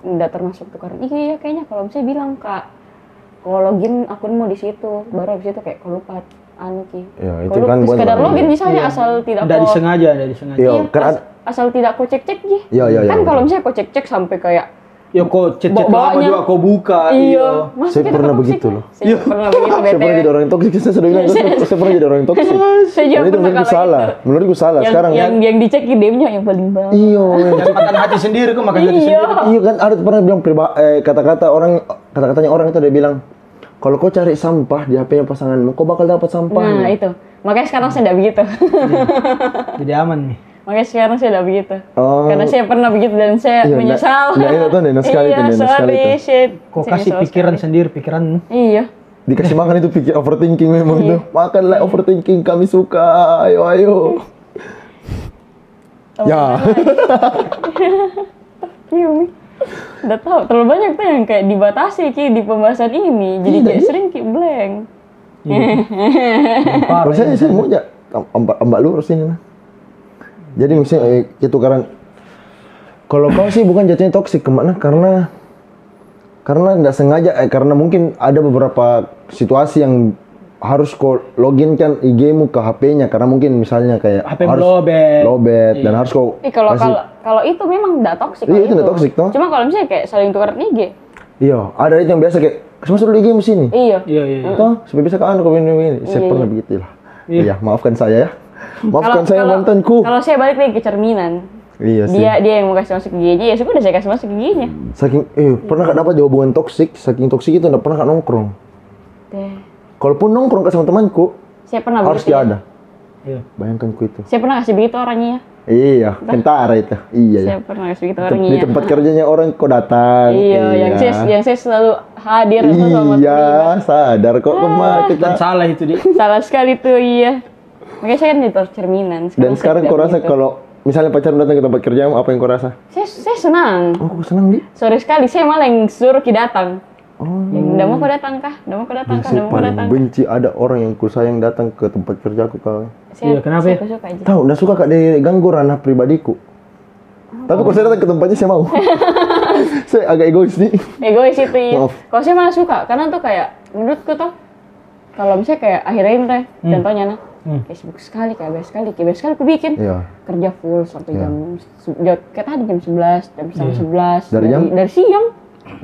nggak termasuk tukaran. Iya, iya, kayaknya kalau misalnya bilang, Kak, kalau login akunmu di situ, baru habis itu kayak kau lupa anu Ki. Kau
Iya, itu
lupa,
kan buat
sekedar
orang-
login bisa aja asal tidak
Tidak
kau-
disengaja, tidak disengaja.
Iya,
Iya,
kan
as-
ada-
asal tidak kau cek-cek, Ki.
Iya, iya, iya.
Kan kalau misalnya kau cek-cek sampai kayak
Ya kok cecet lama
Bawaannya-
juga kau buka.
Iya, Mas,
Ah, Saya
kita
pernah
toxic,
begitu
Mas.
loh.
Saya pernah begitu
(laughs) Saya pernah
BTW.
jadi orang yang toksik, saya sudah bilang, saya,
(laughs)
saya pernah jadi orang yang toksik.
Saya juga
Dan itu
pernah
menurutku
kalau
salah,
gitu.
menurutku salah.
yang,
Nah, Sekarang kan,
yang, yang dicek nya yang paling bawah.
Iya, yang
Jangan makan hati sendiri kok makan hati
Iya.
sendiri.
Iya kan ada pernah bilang priba- eh, kata-kata orang kata-katanya orang itu dia bilang kalau kau cari sampah di HP-nya pasanganmu, kau bakal dapat
Nah,
sampah.
itu. Makanya sekarang saya tidak begitu.
Jadi aman nih.
(laughs) Makanya sekarang saya udah begitu.
Oh.
Karena saya pernah begitu dan saya
Iya,
menyesal.
nah- nah, itu tuh nenek sekali
iya,
tuh, nenek sekali
sorry,
tuh.
shit.
Kok
Saya
kasih
menyesal
pikiran
sekali.
sendiri, pikiran
Iya.
Dikasih makan itu pikir overthinking memang
Iya.
tuh. Makanlah overthinking kami suka. Ayo ayo.
Tahu
Ya.
Iya, Mi. Udah tahu terlalu banyak tuh yang kayak dibatasi ki di pembahasan ini. Jadi
Iya,
kayak
iya.
sering ki blank.
parah.
(laughs) Rasanya sih mau ya. Mbak, mbak lu harus ini lah. Jadi misalnya eh, gitu karena kalau kau sih bukan jatuhnya toksik kemana karena karena nggak sengaja eh, karena mungkin ada beberapa situasi yang harus kau login kan IG-mu ke HP-nya karena mungkin misalnya kayak
HP lobet.
lobet dan
Iya.
harus kau
Ih, kalau
kasih-
kalau kalau itu memang nggak toksik.
Iya,
kalau
itu nggak toksik, toh.
Cuma kalau misalnya kayak saling tukar IG.
Iya, ada itu yang biasa kayak masuk dulu game sini.
Iya.
Iya, iya, iya.
Toh, supaya bisa kan kau ini ini. Saya
Iya,
pernah
iya.
begitu lah.
Iya.
Iya, maafkan saya ya.
Kalau-
Maafkan saya
kalau-
mantanku.
Kalau saya balik lagi ke cerminan.
Iya sih.
Dia dia yang mau kasih masuk giginya, ya sudah saya kasih masuk giginya.
Saking eh pernah gak dapat jawaban toksik, saking toksik itu enggak pernah gak nongkrong.
Deh.
Kalaupun nongkrong ke sama temanku,
Saya pernah
Hmm. harus
begitu.
dia ada.
Iya.
Bayangkan ku itu.
Saya pernah kasih begitu orangnya ya.
Iya, kentara itu. Iya ya.
Saya pernah kasih begitu
Tem-
orangnya.
Di tempat kerjanya orang kok datang.
Iya, yang saya yang saya selalu hadir tuh sama Ah.
Iya,
terlibat.
sadar kok lemah
Dan
kita.
salah itu, Di.
Salah sekali tuh iya. Makanya saya kan di cerminan.
Dan
saya
sekarang
tidak
kau rasa
begitu.
kalau misalnya pacar datang ke tempat kerjamu, apa yang kau rasa?
saya saya senang.
Oh, aku senang, Di.
Sore sekali saya malah yang suruh ki datang.
Oh.
Yang udah mau kau datang kah? Udah mau kau datang
Dan
kah?
saya
Udah mau kau
paling
datang. kah?"
benci ada orang yang ku sayang datang ke tempat kerjaku kau.
Saya,
Iya, kenapa
saya
ya?
suka aja.
Tahu, udah suka kak diganggu ranah pribadiku. Tapi kalau saya datang ke tempatnya saya mau. (laughs) saya agak egois nih.
egois itu iya.
Maaf.
Kalau saya malah suka karena tuh kayak menurutku tuh kalau misalnya kayak akhirnya ini deh, contohnya nah
Hmm.
kayak sibuk sekali kayak bebas sekali kayak bebas sekali aku bikin
Iya.
kerja full sampai
Iya.
jam se- jam- kayak tadi jam 11 jam setengah
Iya.
11
Dari jam?
dari siang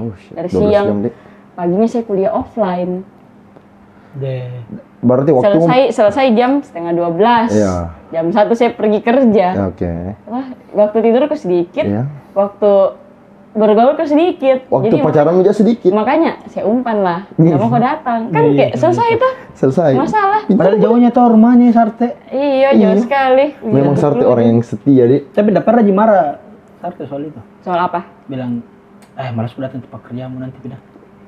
Oh, shit.
Dari
12
siang.
jam, Dek.
paginya saya kuliah offline
Deh.
Berarti waktu
selesai selesai jam setengah 12
Iya.
jam satu saya pergi kerja
Ya, Oke.
Wah, waktu tidur ke sedikit
Iya.
waktu bergaul ke sedikit
Waktu Iya.
Jadi
pacaran aja sedikit.
makanya saya umpan lah nggak mau kau datang kan
Iya,
kayak
iya,
selesai itu
Selesai.
masalah
Padahal jauhnya tuh rumahnya Sarte.
Iya, jauh
Iya.
sekali.
Memang
Gila,
Sarti
betul.
orang yang setia, Dek.
Tapi enggak pernah dimarah Sarte soal itu.
Soal apa?
Bilang, "Eh, malas ku datang tempat kerjamu nanti pindah."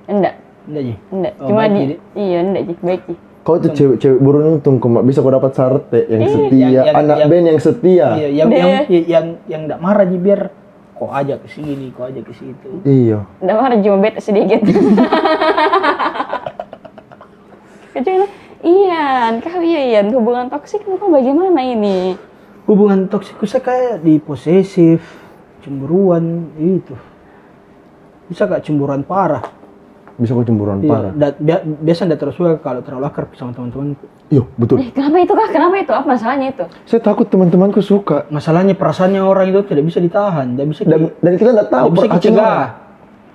Enggak,
Enggak, Ji.
enggak.
Oh,
Cuma
baik,
di...
Ji.
Iya, enggak, Ji. Baik, Ji.
Kau tuh cewek-cewek burun untung kok, Mak. bisa kau dapat Sarte yang setia,
yang- yang-
anak
yang-
band yang setia.
Iya, yang
Deh.
yang yang yang yang enggak marah Ji biar kok ajak ke sini, kok ajak ke situ.
Iya.
Enggak marah, cuma bete
(laughs)
sedikit. Kecuali, Ian, kau iya, Ian. Hubungan toksik kau bagaimana ini?
Hubungan toksik saya kayak di posesif, cemburuan itu. Bisa gak cemburuan parah?
Bisa kau cemburuan
Iya,
parah.
da- bia- biasa ndak terus suka kalau terlalu akrab sama teman-teman.
Iya, betul.
Eh, kenapa itu, Kak? Kenapa itu? Apa masalahnya itu?
Saya takut teman-temanku suka
Masalahnya perasaannya orang itu tidak bisa ditahan, tidak bisa
dan
di-
dan kita nggak tahu
tidak bisa
perhatian
dicegah.
orang.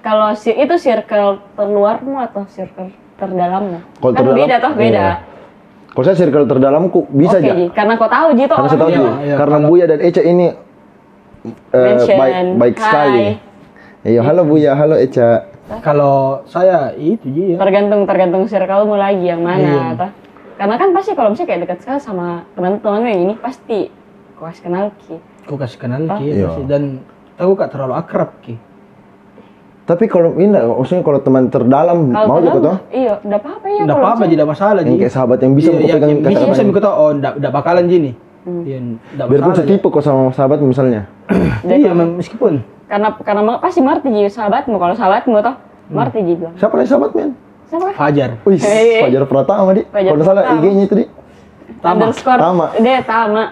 Kalau si itu circle terluarmu atau circle terdalammu?
Kalau
kan
terdalam-
beda toh, beda.
iya. Kalau saya circle terdalamku bisa
Oke,
aja.
Ji. Karena kau tahu, Ji, itu
Karena saya tahu
Iya,
Ji,
iya,
karena
kalau-
Buya dan Eca ini eh,
Mention.
baik baik
Hai. Gitu.
sekali. Iya, halo Buya, halo Eca.
Kalau saya itu Ji ya.
tergantung tergantung circle mu lagi yang mana
Iya.
toh. karena kan pasti kalau misalnya kayak dekat sekali sama teman-teman yang ini pasti kau kasih kenal ki
Aku kasih kenal
Ah. Iya,
Ki
Iya.
pasti. dan tahu gak terlalu akrab Ki.
Tapi kalau ini nggak, maksudnya kalau teman terdalam mau juga
terlalu-
toh?
iya udah apa apa ya
Enggak
kalau
apa-apa, Ji,
misalnya-
enggak masalah Ji.
Yang kayak sahabat yang bisa
Iya,
kau
yang-
pegang
yang
kata
bisa bisa
teman.
ikut tahu, oh enggak enggak bakalan Ji nih.
Hmm.
Iya, enggak
Biarpun
masalah. Ji.
setipe kok sama sahabat misalnya.
Jadi
Iya,
kalau-
mem- meskipun
karena karena ma- pasti ngerti ji sahabatmu kalau sahabatmu toh ngerti ji bilang
Siapa nih sahabat men?
siapa kah?
Fajar.
Wih,
Hei.
Fajar Pratama di.
Fajar
Kalau nggak salah
Pratama.
IG-nya itu di.
Tama.
underscore
Tama.
dia tama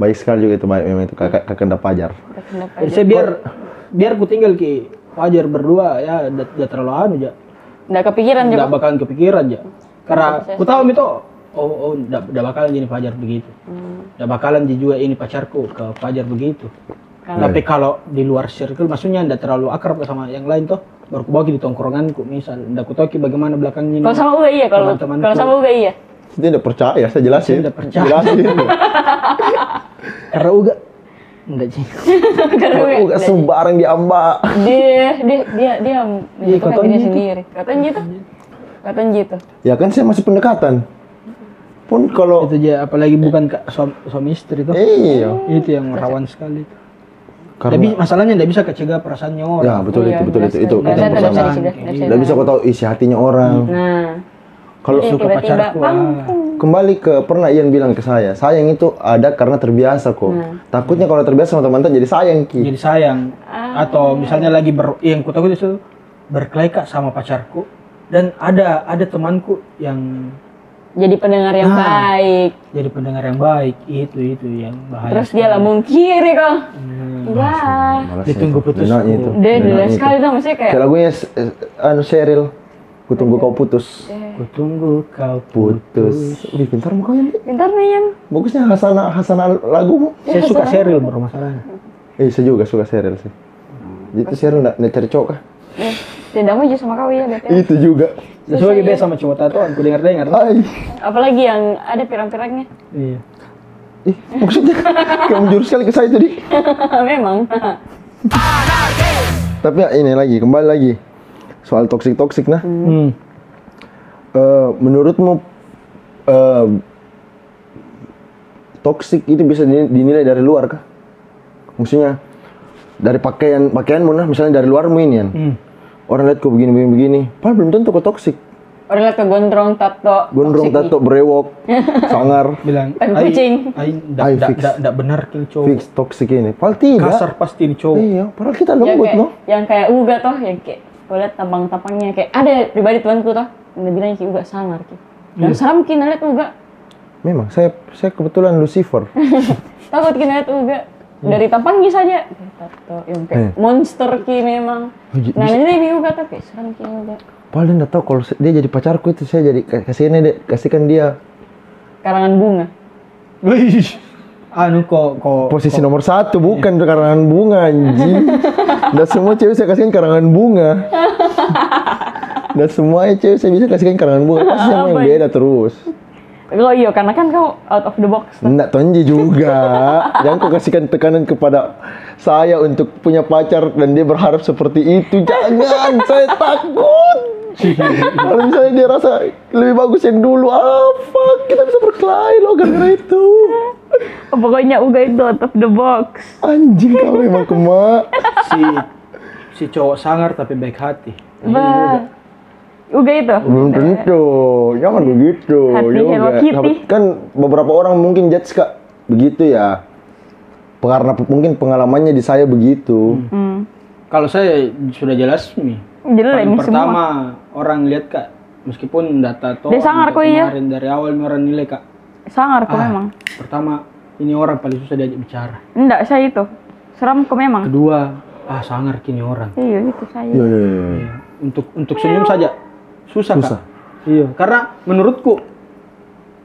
Baik sekali juga itu baik memang itu kakak kakanda Fajar.
Udah kenapa
Jadi
aja.
Eh, saya biar biar ku tinggal Ki Fajar berdua ya enggak enggak terlalu anu ja.
nggak kepikiran juga
Enggak bakalan kepikiran ja. Karena ku tahu itu oh oh enggak enggak bakalan jadi Fajar begitu.
Hmm.
Enggak bakalan Ji juga ini pacarku ke Fajar begitu.
Kalau-
Tapi kalau di luar circle maksudnya enggak terlalu akrab sama yang lain toh baru ku bawa Ki di tongkronganku misal enggak ku tahu Ki bagaimana belakangnya ini.
kalau sama uga iya kalau
Teman-teman
kalau
ku-
sama uga iya
Dia udah percaya, saya jelasin.
Saya udah percaya.
(laughs)
Jelasin.
Karena uga enggak sih.
Karena
Kalau
uga-
aku nggak sembarang diambak.
dia dia dia dia menjatuhkan
katanya
diri
gitu.
sendiri katanya gitu katanya gitu
Ya kan saya masih pendekatan.
Oh.
pun kalau
itu aja apalagi bukan ka- suam- suami, istri
Eh.
tuh
iya
itu yang rawan sekali tapi
karena
masalahnya nggak bisa kecegah perasaannya
ya
orang Nah,
betul
Iya,
itu betul
nggak
itu
bisa-
itu
nggak
itu
bisa-
yang
nggak bisa
pertama
dicegah, nggak bisa
dan bisa kau
dicegah.
tahu isi hatinya
Hmm.
orang
Nah,
kalau
jadi
suka
tiba-tiba
pacarku,
pam,
ah.
pum.
kembali ke pernah Ian bilang ke saya sayang itu ada karena terbiasa kok
Nah.
takutnya kalau terbiasa sama teman-teman jadi sayang ki
Hmm. jadi sayang
Ah.
atau misalnya lagi ber yang ku takut itu berkelahi Kak, sama pacarku dan ada ada temanku yang
jadi pendengar yang
Ah.
baik.
jadi pendengar yang baik itu itu yang bahaya
Terus dia lambung kiri kok.
Hmm.
Wah.
Malas
Ditunggu
itu.
putus
Denaknya
dulu.
itu
Dia
Denaknya
dulu
itu.
sekali dong maksudnya kayak
kayak lagunya eh, eh, anu Sheryl ku tunggu kau putus
ku tunggu kau putus
putus lebih pintar mau kau yang
pintar nih yang
bagusnya Hasanah Hasanah lagumu
saya suka serial bro
Hmm.
masalahnya
eh saya juga suka Sheryl sih
Hmm.
itu Sheryl nggak nggak cari cowok kah
Eh, tidak mau sama kau ya BTW.
Iya.
itu juga
sesuai
ya.
beda sama cowok tatoan ku dengar dengar
Ay.
Apalagi yang ada pirang-pirangnya. (laughs)
iya
Ih,
(laughs)
maksudnya kayak menjurus sekali ke saya tadi.
Memang.
Tapi ya, ini lagi, kembali lagi soal toksik toksik nah.
hmm.
Eh, menurutmu eh, toksik itu bisa dini- dinilai dari luar kah? Maksudnya dari pakaian pakaianmu nah, misalnya dari luarmu ini kan.
Hmm.
Orang lihat kok begini begini begini, padahal belum tentu kok toksik.
Orang lihat ke gondrong tato.
Gondrong
toksik
tato
(laughs)
brewok, sangar,
bilang
Tapi
"Ai-
kucing."
ai
Ai
ndak- ndak
fix.
ndak- ndak benar king cowok
fix toksik ini. Padahal tidak.
kasar pasti di cowok
Iya, padahal kita
nih. Yang
lembut
kayak,
loh.
yang kayak Uga toh, yang kayak gue liat tampang-tampangnya kayak ada pribadi temanku toh, yang bilang kayak Uga sangar kayak.
Iya.
Dan salam kini lihat Uga,
Memang saya saya kebetulan Lucifer.
takut kini lihat Uga.
Hmm.
Dari tampangnya saja, dari tato
ya,
yang kayak
Eh.
monster ki memang.
Oh, j-
Nah
bisa-
ini dari Uga tuh kayak salam kini Uga.
Paling nggak tahu kalau se- dia jadi pacarku itu saya jadi ka- kasih ini deh, kasihkan dia
Karangan bunga.
Wih. anu kok kok
posisi nomor satu bukan karangan bunga anjing. Dan semua cewek saya kasihkan karangan bunga. Dan semua cewek saya bisa kasihkan karangan bunga. Pasti sama yang
Apa ini?
beda terus.
Oh iya, karena kan kau out of the box. toh.
Enggak tonji juga. Jangan kau kasihkan tekanan kepada saya untuk punya pacar dan dia berharap seperti itu. Jangan, saya takut. Kalau misalnya dia rasa lebih bagus yang dulu, apa kita bisa berkelahi loh gara-gara itu.
Oh, Pokoknya Uga itu out of the box.
Anjing kau memang kemak.
si si cowok sangar tapi baik hati
Bah. Uga itu.
Belum tentu, jangan begitu.
Hati
juga.
Hello Kitty.
Kan beberapa orang mungkin judge kak begitu ya. Karena mungkin pengalamannya di saya begitu.
Hmm.
kalau saya sudah jelas nih
Jelek
paling
nih semua.
pertama orang lihat kak meskipun data tato
Dia sangar kok, iya. Oh,
kemarin dari awal nih orang nilai kak
Sangar kok
Ah,
memang.
pertama ini orang paling susah diajak bicara
Enggak, saya itu. Seram kok memang.
kedua ah sangar kini orang
Iya, itu saya.
Ya, ya, ya, ya.
Iya. untuk untuk
Iya.
senyum saja susah,
Susah.
kak iya karena menurutku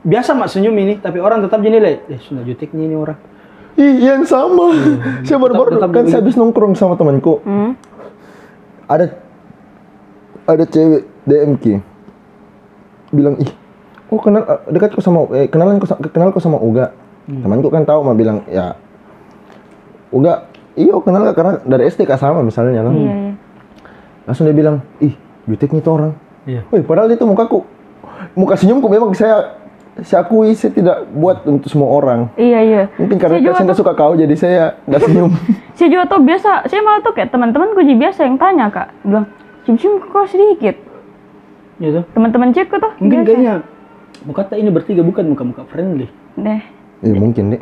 biasa mak senyum ini tapi orang tetap jadi nilai eh sudah juteknya ini orang
Ih, yang sama. (laughs) Saya
Hmm.
baru-baru
Tetap- tetap
kan saya
begitu.
habis nongkrong sama temanku.
Hmm.
Ada ada cewek DM Ki. Bilang, "Ih, oh kenal eh, dekat kok sama eh, kenalan kok sa- kenal kok sama Uga."
Hmm.
Temanku kan tahu mah bilang, "Ya Uga, iya kenal gak karena dari SD kak sama misalnya
Iya,
lah."
Hmm.
iya.
Langsung dia bilang, "Ih, jutek nih tuh orang."
Iya.
Wih, padahal itu mukaku muka senyumku memang saya saya akui saya tidak buat untuk semua orang.
Iya, iya.
Mungkin
Saya
karena
juga
saya nggak
tuh-
suka kau jadi saya nggak senyum.
Saya juga tuh biasa, saya malah tuh kayak teman-teman gue biasa yang tanya, Kak. Bilang, cium-cium kok sedikit.
gitu
Teman-teman cekku tuh.
mungkin
biasa.
kayaknya muka tak ini bertiga bukan muka-muka friendly
Deh.
(laughs) Iya mungkin deh.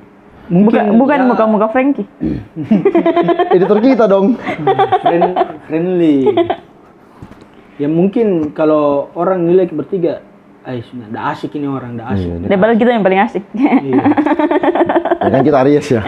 mungkin
Bukan, bukan
ya,
muka-muka Frankie.
Editor kita dong.
friend- friendly ya mungkin kalau orang nilai bertiga ay sudah dah asik ini orang dah asik
Iya,
Daripada kita yang paling
(laughs)
asik.
Iya.
Ya kan kita Aries
(laughs)
ya.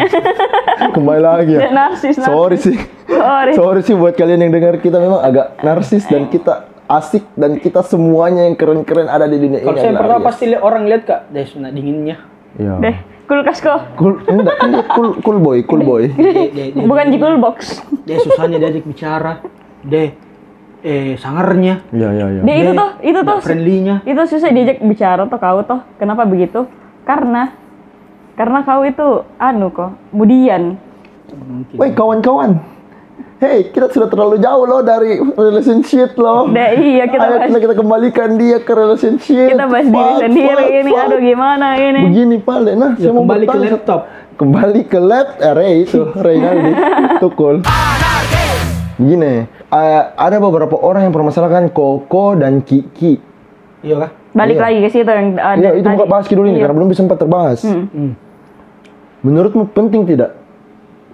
Kembali lagi ya.
Dia narsis, narsis.
Sorry sih.
Sorry.
Sorry sih buat kalian yang dengar kita memang agak narsis dan kita asik dan kita semuanya yang keren-keren ada di dunia ini.
kalau saya
adalah
pernah
Aries.
pasti lihat orang lihat kak dah sudah dinginnya
Iya.
Deh, kulkas kok.
Cool, enggak, kan dia cool, cool boy, cool boy.
Dia- dia- dia- Iya.
Bukan di box.
deh susahnya diajak bicara deh eh sangarnya
Iya, iya, iya.
Dia itu
Deh,
tuh, itu
nggak
tuh.
friendly-nya.
Itu susah diajak bicara tuh kau tuh. Kenapa begitu? Karena karena kau itu anu kok, budian.
mungkin
Hmm.
Woi, kawan-kawan. hey kita sudah terlalu jauh loh dari relationship loh.
Nah, iya, kita
Ayo
bahas-
kita, kita kembalikan dia ke relationship.
Kita bahas diri
Fuck,
sendiri
fuck,
ini.
fuck.
Aduh gimana ini?
Begini Pale, nah saya
Ya,
mau
kembali ke
bertanya.
laptop.
Kembali ke laptop, eh, Ray itu,
(laughs)
Reynaldi, tukul. Begini, eh, ada beberapa orang yang permasalahkan Koko dan Kiki.
Iya kah?
Balik
Iya.
lagi ke situ yang ada
Iya, itu
tadi.
bukan bahas dulu ini
Iya.
karena belum sempat terbahas.
Hmm.
Menurutmu penting tidak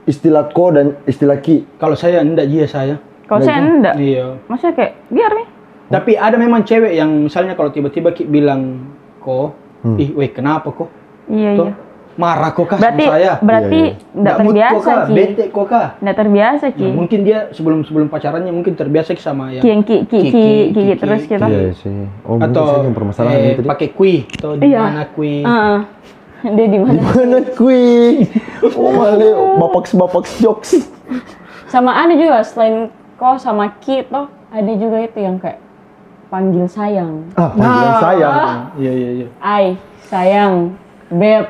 istilah ko dan istilah ki?
Kalau saya enggak dia saya.
Kalau saya enggak.
Iya.
Maksudnya kayak biar nih.
Tapi ada memang cewek yang misalnya kalau tiba-tiba Ki bilang kok,
Hmm.
ih weh kenapa kok?
Iya,
Tuh,
iya.
marah kok kah
Berarti
sama saya?
berarti
Iya,
enggak
mood kok
terbiasa, Iya.
kah?
Ki.
Bete kok kah?
Enggak terbiasa, Ki.
Ya, mungkin dia sebelum sebelum pacarannya mungkin terbiasa sama ya. yang
Ki yang ki ki
Ki,
ki
ki,
ki
ki,
terus gitu.
ki.
kita.
Iya sih. Oh, mungkin saya
atau
yang permasalahan
eh,
ini tadi.
pakai (laughs) kui atau di
Iya.
mana kui?
Heeh. Dia di mana?
Mana kui? Oh, male, bapak bapak jokes.
Sama ada juga selain kau sama Ki toh ada juga itu yang kayak panggil sayang.
Ah, panggilan sayang.
Iya iya iya.
Ai, sayang, beb,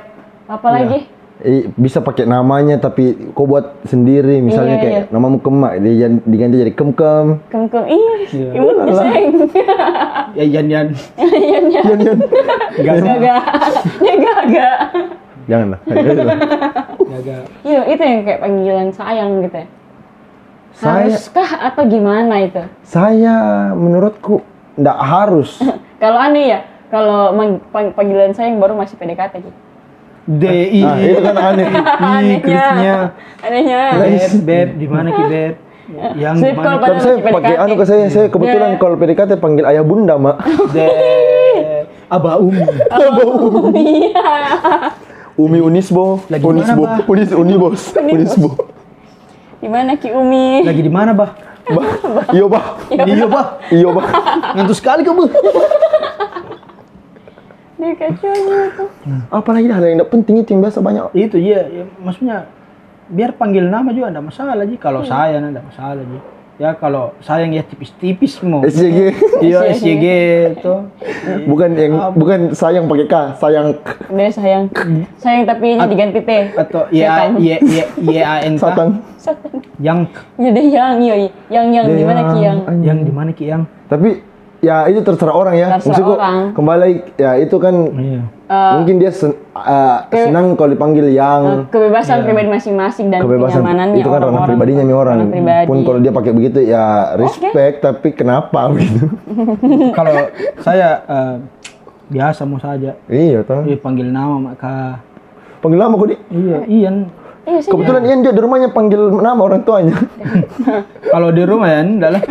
apa lagi?
Iya.
Eh, bisa pakai namanya tapi kau buat sendiri misalnya
Iya,
kayak namamu kemak dia jan- diganti jadi kem kem
(laughs) Kengkeng, iya,
Iya.
ibu
(laughs)
sayang.
Ya yan
(laughs)
yan.
Yan, yan.
Gagal.
Iya, Gak, ya gak.
janganlah janganlah.
Gagal.
Iya, itu yang kayak panggilan sayang gitu ya.
saya
Haruskah atau gimana itu?
saya menurutku ndak harus
Kalau aneh ya, kalau mang- pang- panggilan sayang baru masih PDKT gitu.
D I
nah itu kan
(laughs)
aneh
I Krisnya.
Anehnya.
Beb beb di mana Ki
(laughs)
beb? Yang di
Sweet
mana
call
Kan
padahal
saya
masih
pakai
PDKT.
anu ke saya, saya kebetulan
Iya.
kalau PDKT panggil ayah bunda, Mak.
De
(laughs)
Aba Umi.
Iya.
Umi Unisbo,
Lagi
Unisbo,
mana, Bah?
Unis Unibos, Unisbo.
Gimana Ki Umi?
Lagi di mana, Bah?
Bah, iyo bah,
Iya, Bah.
iyo bah.
Ngantuk sekali kamu.
Dia kacau gitu.
(laughs) Apalagi hal yang tidak penting itu yang biasa banyak.
Itu iya, ya, maksudnya biar panggil nama juga enggak masalah Ji. Kalau saya enggak masalah Ji. Ya kalau sayang ya tipis-tipis (laughs) mau.
SJG,
Iya, SJG itu.
bukan yang bukan sayang pakai K, sayang
Dia sayang. Sayang tapi ini diganti T.
Atau
iya,
ya Y
(laughs) Setan.
Y Y A N K.
satang.
Yang
Ya deh yang, iya, iya. Yang, yang,
Dia
gimana Ki yang?
anjing.
yang di mana Ki yang?
Tapi ya itu terserah orang ya.
Terserah orang.
kembali lagi, ya itu kan
Iya.
mungkin dia sen- eh,
ke-
senang kalau dipanggil
Eh,
yang
kebebasan pribadi masing-masing dan
Iya. kebebasan
kenyamanannya
itu kan ranah
orang-orang.
pribadinya nih orang
Ranah pribadi.
pun kalau dia pakai begitu ya respect tapi kenapa (laughs) gitu
Kalau saya eh, biasa mau saja.
iya tau
Iya, panggil nama maka
panggil nama kok di
Iya, Ian.
Iya sih. (laughs)
kebetulan Ian dia di rumahnya panggil nama orang tuanya
Kalau di rumah ya enggak (laughs) lah.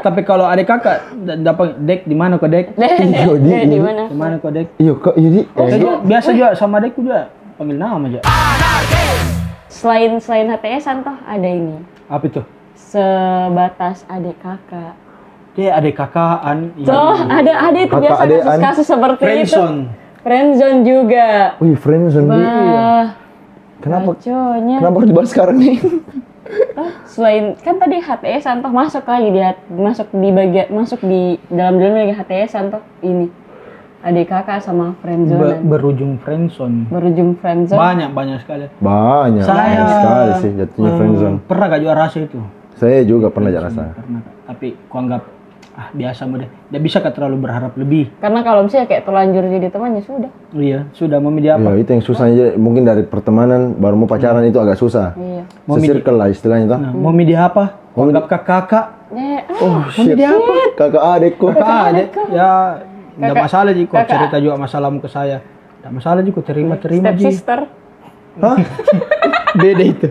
Tapi kalau adik kakak dapat dek di mana kok dek?
Deh, deh,
Iya,
deh,
iya.
di mana?
Di mana kok dek?
iya kok iya di Eh,
Saya juga biasa juga sama adekku juga panggil nama aja.
Selain selain HTS toh ada ini.
Apa itu?
Sebatas adik kakak.
Dia adik kakaan. iya.
Tuh, ada ada itu
Kakak
biasa
adean.
kasus-kasus seperti Oh, itu.
Friendzone.
Friendzone juga.
wih friends sendiri
Wah,
Iya, kenapa
coconya.
kenapa harus dibahas sekarang nih
Selain kan tadi HTS toh masuk lagi di hat- masuk di bagian masuk di dalam dalam lagi HTS toh ini. Adik kakak sama
Be-
friendzone.
berujung friendzone.
Berujung friendzone.
Banyak banyak sekali.
(laughs) banyak
Saya
banyak sekali sih jatuhnya
eh,
friendzone
Pernah gak juara rasa itu?
saya juga pernah jalan sana
Pernah. Kak. Tapi kuanggap ah biasa mah deh. Nggak bisa kak terlalu berharap lebih.
Karena kalau misalnya kayak terlanjur jadi temannya sudah.
Iya, sudah memilih apa?
Ya, itu yang susahnya jadi mungkin dari pertemanan baru mau pacaran itu agak susah.
Iya.
Hmm. Mau midi-
Circle lah istilahnya tuh.
Nah, mau milih apa? Kuanggap kakak kakak.
Ya,
Oh shit. Kakak adekku.
Kakak ada ya enggak
Kakak-
masalah Ji kok
kakak.
cerita juga masalahmu ke saya. Enggak masalah Ji kok terima terima
step
Ji.
sister.
Hah?
(laughs) Beda itu.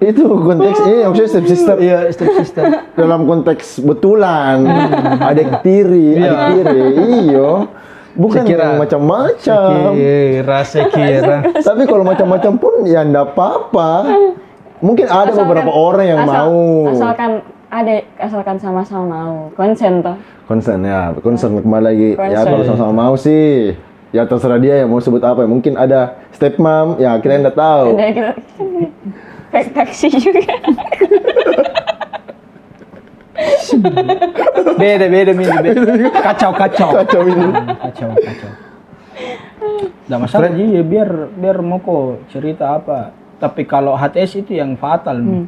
Itu konteks ini maksudnya step sister
Oh. Iya, step sister.
(laughs) dalam konteks betulan adek tiri,
Hmm. Iya.
adik tiri. Iyo. Bukan
Sekira-
yang macam-macam.
rasa ya. kira.
Tapi kalau macam-macam pun ya enggak apa-apa. Mungkin ada
Asalkan-
beberapa orang yang
asal-
mau
Asalkan ada asalkan sama-sama mau. Konsen toh.
concern ya, concern kembali lagi. Ya
Concern.
kalau sama-sama mau sih ya terserah dia yang mau sebut apa. Mungkin ada step mom, ya kita enggak tahu.
Ada kita gitu. kayak taksi juga.
Beda beda Min, beda. Kacau kacau.
Kacau ini.
Hmm, Kacau kacau. Enggak masalah Iya, Ji, ya biar biar mau kok cerita apa. Tapi kalau HTS itu yang fatal. Min.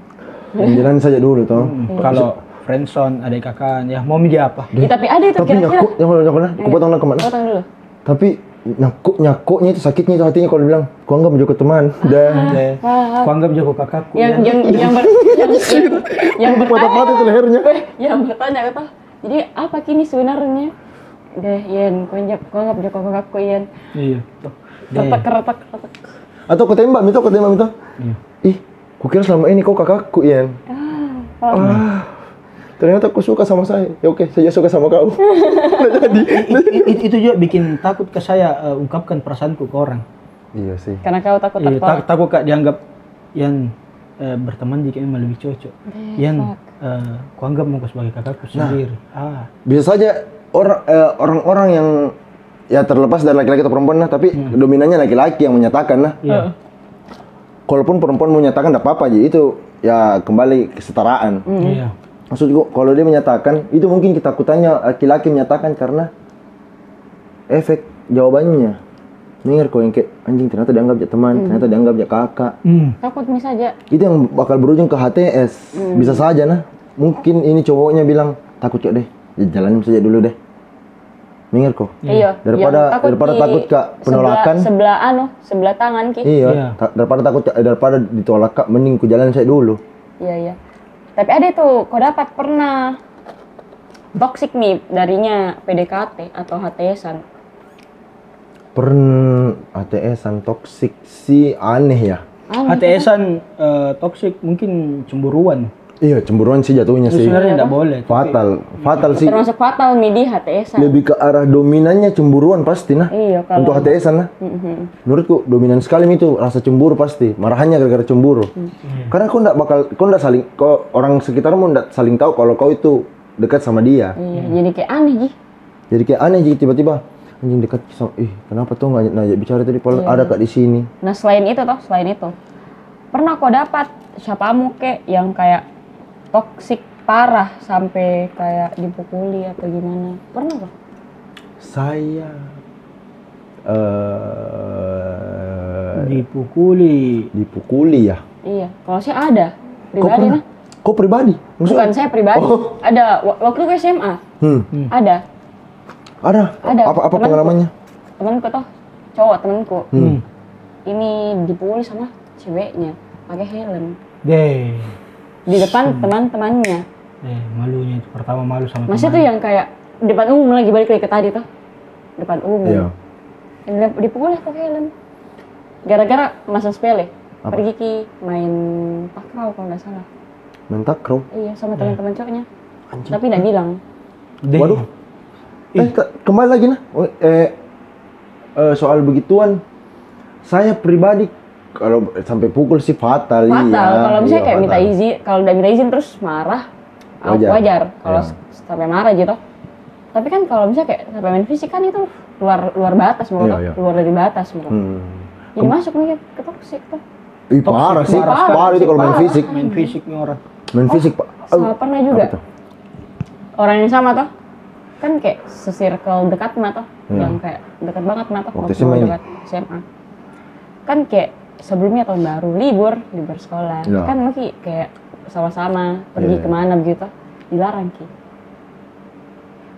Jalan saja dulu toh.
Hmm.
Kalau friendzone, ada kakak, ya mau dia apa?
Ih, tapi ada itu
Tapi
kira-kira. Iya.
nyakuk, nyakuk, nyakuk, nah. Aku potong lah kemana?
Potong dulu.
Tapi nyakuk, nyakuknya itu sakitnya itu hatinya kalau bilang, ku anggap menjadi teman.
Ah.
Dah.
Eh, Ku anggap Joko kakakku. ya.
Yang yang yang ber,
(laughs)
yang, yang bertanya,
Patah-patah itu lehernya.
yang bertanya kata. Jadi apa kini sebenarnya? Deh, Yen, kau anggap kau anggap Joko kakakku Yen.
Iya.
Retak retak retak.
Atau aku tembak, Mito, aku tembak, Mito. Ih, kukira selama ini kau kakakku, Ian.
Oh,
Ah, ternyata aku suka sama saya. Ya oke, saya suka sama
(laughs)
kau. Nggak jadi.
I- i- itu juga bikin takut ke saya eh, ungkapkan perasaanku ke orang.
Iya sih.
Karena kau takut
Iya, tak-
tertolak.
takut kak dianggap yang eh, berteman jika emang lebih cocok. Yang eh, kuanggap mau sebagai kakakku
Nah.
sendiri. Ah,
Bisa saja orang eh, orang-orang yang ya terlepas dari laki-laki atau perempuan lah, tapi dominannya laki-laki yang menyatakan lah.
iya.
Kalaupun perempuan menyatakan tidak apa-apa aja itu ya kembali kesetaraan.
Iya.
Maksudku kalau dia menyatakan itu mungkin ketakutannya laki-laki menyatakan karena efek jawabannya. Dengar kok yang kayak anjing ternyata dianggap ya teman, ternyata dianggap ya kakak.
Hmm.
Takut misalnya.
Itu yang bakal berujung ke HTS. Bisa saja nah. Mungkin ini cowoknya bilang takut kok deh, ya jalanin saja dulu deh. Dengar kok.
Iya.
Daripada-
yang
daripada
di
takut, Kak, penolakan.
Sebelah, sebelah anu, sebelah tangan ki.
Iya,
Iya.
ta- daripada takut eh, daripada ditolak kak, mending ku jalan saya dulu.
Iya iya. Tapi ada tuh, kau dapat pernah toxic nih darinya PDKT atau HTSan.
Pern ATS-an toksik sih aneh ya.
Ah,
HTS-an eh, toksik mungkin cemburuan.
Iya, cemburuan sih jatuhnya
Itu
sih.
sebenarnya tidak boleh. tapi-
Fatal, fatal sih.
termasuk fatal nih di HTSan.
lebih ke arah dominannya cemburuan pasti nah
Iya, kalau-
untuk HTS nah menurutku dominan sekali itu rasa cemburu pasti marahannya gara-gara cemburu
Hmm.
karena kau ndak bakal kau ndak saling kau orang sekitarmu ndak saling tahu kalau kau itu dekat sama dia
Iya, jadi kayak aneh Ji.
jadi kayak aneh jadi tiba-tiba anjing dekat sama ih kenapa tuh nggak ngajak bicara tadi padahal
Iya.
ada kak di sini
Nah selain itu toh, selain itu pernah kau dapat siapamu kek yang kayak toxic parah sampai kayak dipukuli atau gimana? Pernah kok?
saya eh
Dipukuli.
dipukuli ya
Iya, kalau saya ada
kau
pribadi nah.
pernah kau pribadi
Bukan saya pribadi,
Oh.
ada wa- waktu ke SMA
hmm.
ada
ada,
Ada,
apa apa
temanku.
pengalamannya
temanku toh cowok temanku
Hmm.
ini dipukuli sama ceweknya pakai helm
Deh.
di
Hmm.
depan teman-temannya.
Eh, malunya itu ya? pertama malu sama
Masih tuh
teman.
yang kayak depan umum lagi balik lagi ke tadi tuh depan umum.
Iya.
Yang dipukul lah pakai helm. Gara-gara masa sepele.
Apa?
Pergi ki main takraw kalau nggak salah.
main takraw
Iya sama teman-teman cowoknya. Tapi nggak bilang.
Deh.
Waduh. Eh, ke- kembali lagi nah. Oh, Eh, eh, soal begituan, saya pribadi kalau sampai pukul sih fatal,
Fatal.
iya.
kalau misalnya
Iya,
kayak minta
fatal.
izin, kalau nggak minta izin terus marah, ah,
Wajar.
wajar. Kalau
Iya.
s- sampai marah gitu. Tapi kan kalau misalnya kayak sampai main fisik kan itu luar luar batas mau
Iya, iya.
luar dari batas mau.
Hmm.
Jadi masuk nih ke toxic tuh.
Ih, parah sih, parah,
parah,
itu kalau main
parah.
fisik.
main fisiknya orang.
Main fisik, Pak.
Sama pernah juga.
tuh?
Orang yang sama toh. Kan kayak sesirkel dekat mah toh. Yang kayak dekat banget mah toh.
Hmm. Waktu
waktu
SMA ini?
dekat SMA. Kan kayak sebelumnya tahun baru libur, libur sekolah.
Iya.
Kan mungkin kayak sama-sama pergi
Iya, iya.
kemana begitu. Dilarang Ki.